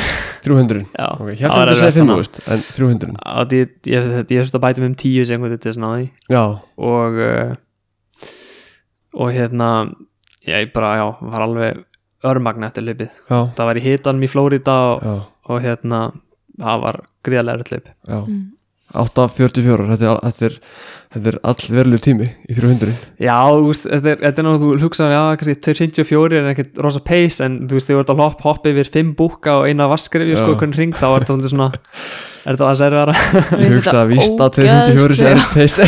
Speaker 2: 300
Speaker 3: Já,
Speaker 2: Ok,
Speaker 3: það
Speaker 2: hérna
Speaker 3: var
Speaker 2: þetta segir
Speaker 3: erfitt að ná.
Speaker 2: 500 en 300
Speaker 3: Að Ég, ég, ég, ég þurfti að bæta mig um tíu sem hvernig til þess að ná því
Speaker 2: Já,
Speaker 3: og uh, og hérna já, ég bara, já, var alveg örmagna eftir
Speaker 2: já,
Speaker 3: hlaupið Það var í hitanum í Flórida og,
Speaker 2: já,
Speaker 3: og hérna það var gríðarlega erfitt hlaup
Speaker 2: já 844, þetta er, þetta er, þetta er all verulegur tími í 300
Speaker 3: Já, þú veist, þetta er, þetta er náttúrulega þú hugsaður, já, kannski 254 er ekkert rosa pace en þú veist, þegar þú ert að hopp, hopp yfir 5 búka og eina vaskrifju, sko,
Speaker 2: Já.
Speaker 3: hvernig ring þá er þetta svolítið svona, er þetta aðeins erfara
Speaker 1: Mér
Speaker 2: Ég
Speaker 1: finnst
Speaker 2: hugsa
Speaker 1: þetta
Speaker 2: að víst að 244
Speaker 1: ógeðslega-
Speaker 2: sem er pace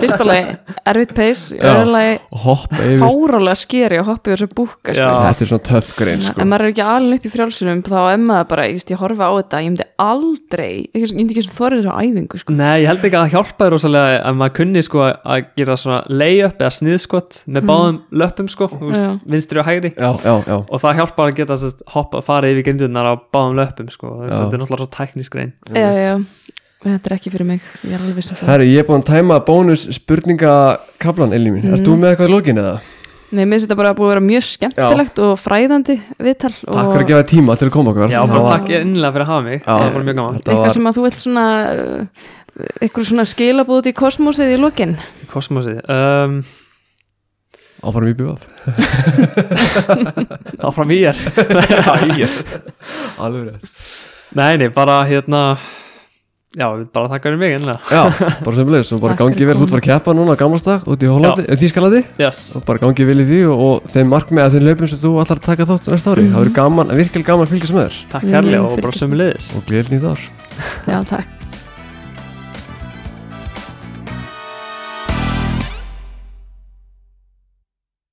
Speaker 1: fyrsta lagi erfitt pace,
Speaker 2: Já.
Speaker 1: öðru lagi
Speaker 2: Hopp yfir Ah,
Speaker 1: fárálega skeri og hoppa yfir þessu búka sko.
Speaker 3: Já.
Speaker 2: Þetta er svona töff grein
Speaker 1: Sko.
Speaker 2: sko.
Speaker 1: En maður er ekki alveg upp í frjálsunum þá er maður bara, ég, veist, ég horfa á þetta ég myndi aldrei, ég ég myndi ekki sem þorrið á æfingu sko.
Speaker 3: Nei, ég held ekki að það hjálpaði rosalega að maður kunni, sko, að gera svona lay-up eða sniðskott með báðum löpum, sko, þú veist,
Speaker 1: Já.
Speaker 3: vinstri og hægri
Speaker 2: Já, já, já,
Speaker 3: og það hjálpar að geta sest, hoppa, fara yfir grindunar á báðum löpum, sko,
Speaker 2: Já.
Speaker 3: þetta er náttúrulega svo tæknisk reyn
Speaker 1: já, já. þetta er ekki fyrir mig, ég er alveg sem það
Speaker 2: Herri, ég er búin að tæma bónus spurningakablan Elí mín, ert
Speaker 1: Mm.
Speaker 2: þú með eitthvað í lókin eða?
Speaker 1: Nei, mér finnst þetta bara búið að vera mjög skemmtilegt og fræðandi viðtal og
Speaker 2: Takk fyrir að gefa tíma til að koma okkur
Speaker 3: Já,
Speaker 2: Það
Speaker 3: bara
Speaker 2: var-
Speaker 3: takk innlega fyrir að hafa mig Það var mjög gaman
Speaker 2: Þetta
Speaker 1: eitthvað
Speaker 2: var,
Speaker 1: sem að þú vilt svona uh, eitthvað svona skilabúð út í kosmosið í lokin
Speaker 3: Þetta er kosmosið um,
Speaker 2: áfram í bífaf
Speaker 3: Áfram í er
Speaker 2: Alveg rétt
Speaker 3: Nei, nei, bara hérna Já, bara takk fyrir mig innlega
Speaker 2: Já, bara sömulegis og bara
Speaker 1: Takk fyrir
Speaker 2: gangi vel, þú ert að fara að keppa núna á gammalstag út í Hollandi, Þískalandi
Speaker 3: yes.
Speaker 2: og bara gangi vel í því og, og þeim markmið að þeim löpum sem þú allar að taka þátt næsta ári
Speaker 1: Mm.
Speaker 2: það verður gaman, virkilega gaman að fylgjast með þér
Speaker 3: Takk
Speaker 1: Við
Speaker 3: kærlega
Speaker 1: munum
Speaker 3: og bara
Speaker 1: fylgjast
Speaker 3: sömu liðis
Speaker 2: og gleyðin í þar
Speaker 1: Já, takk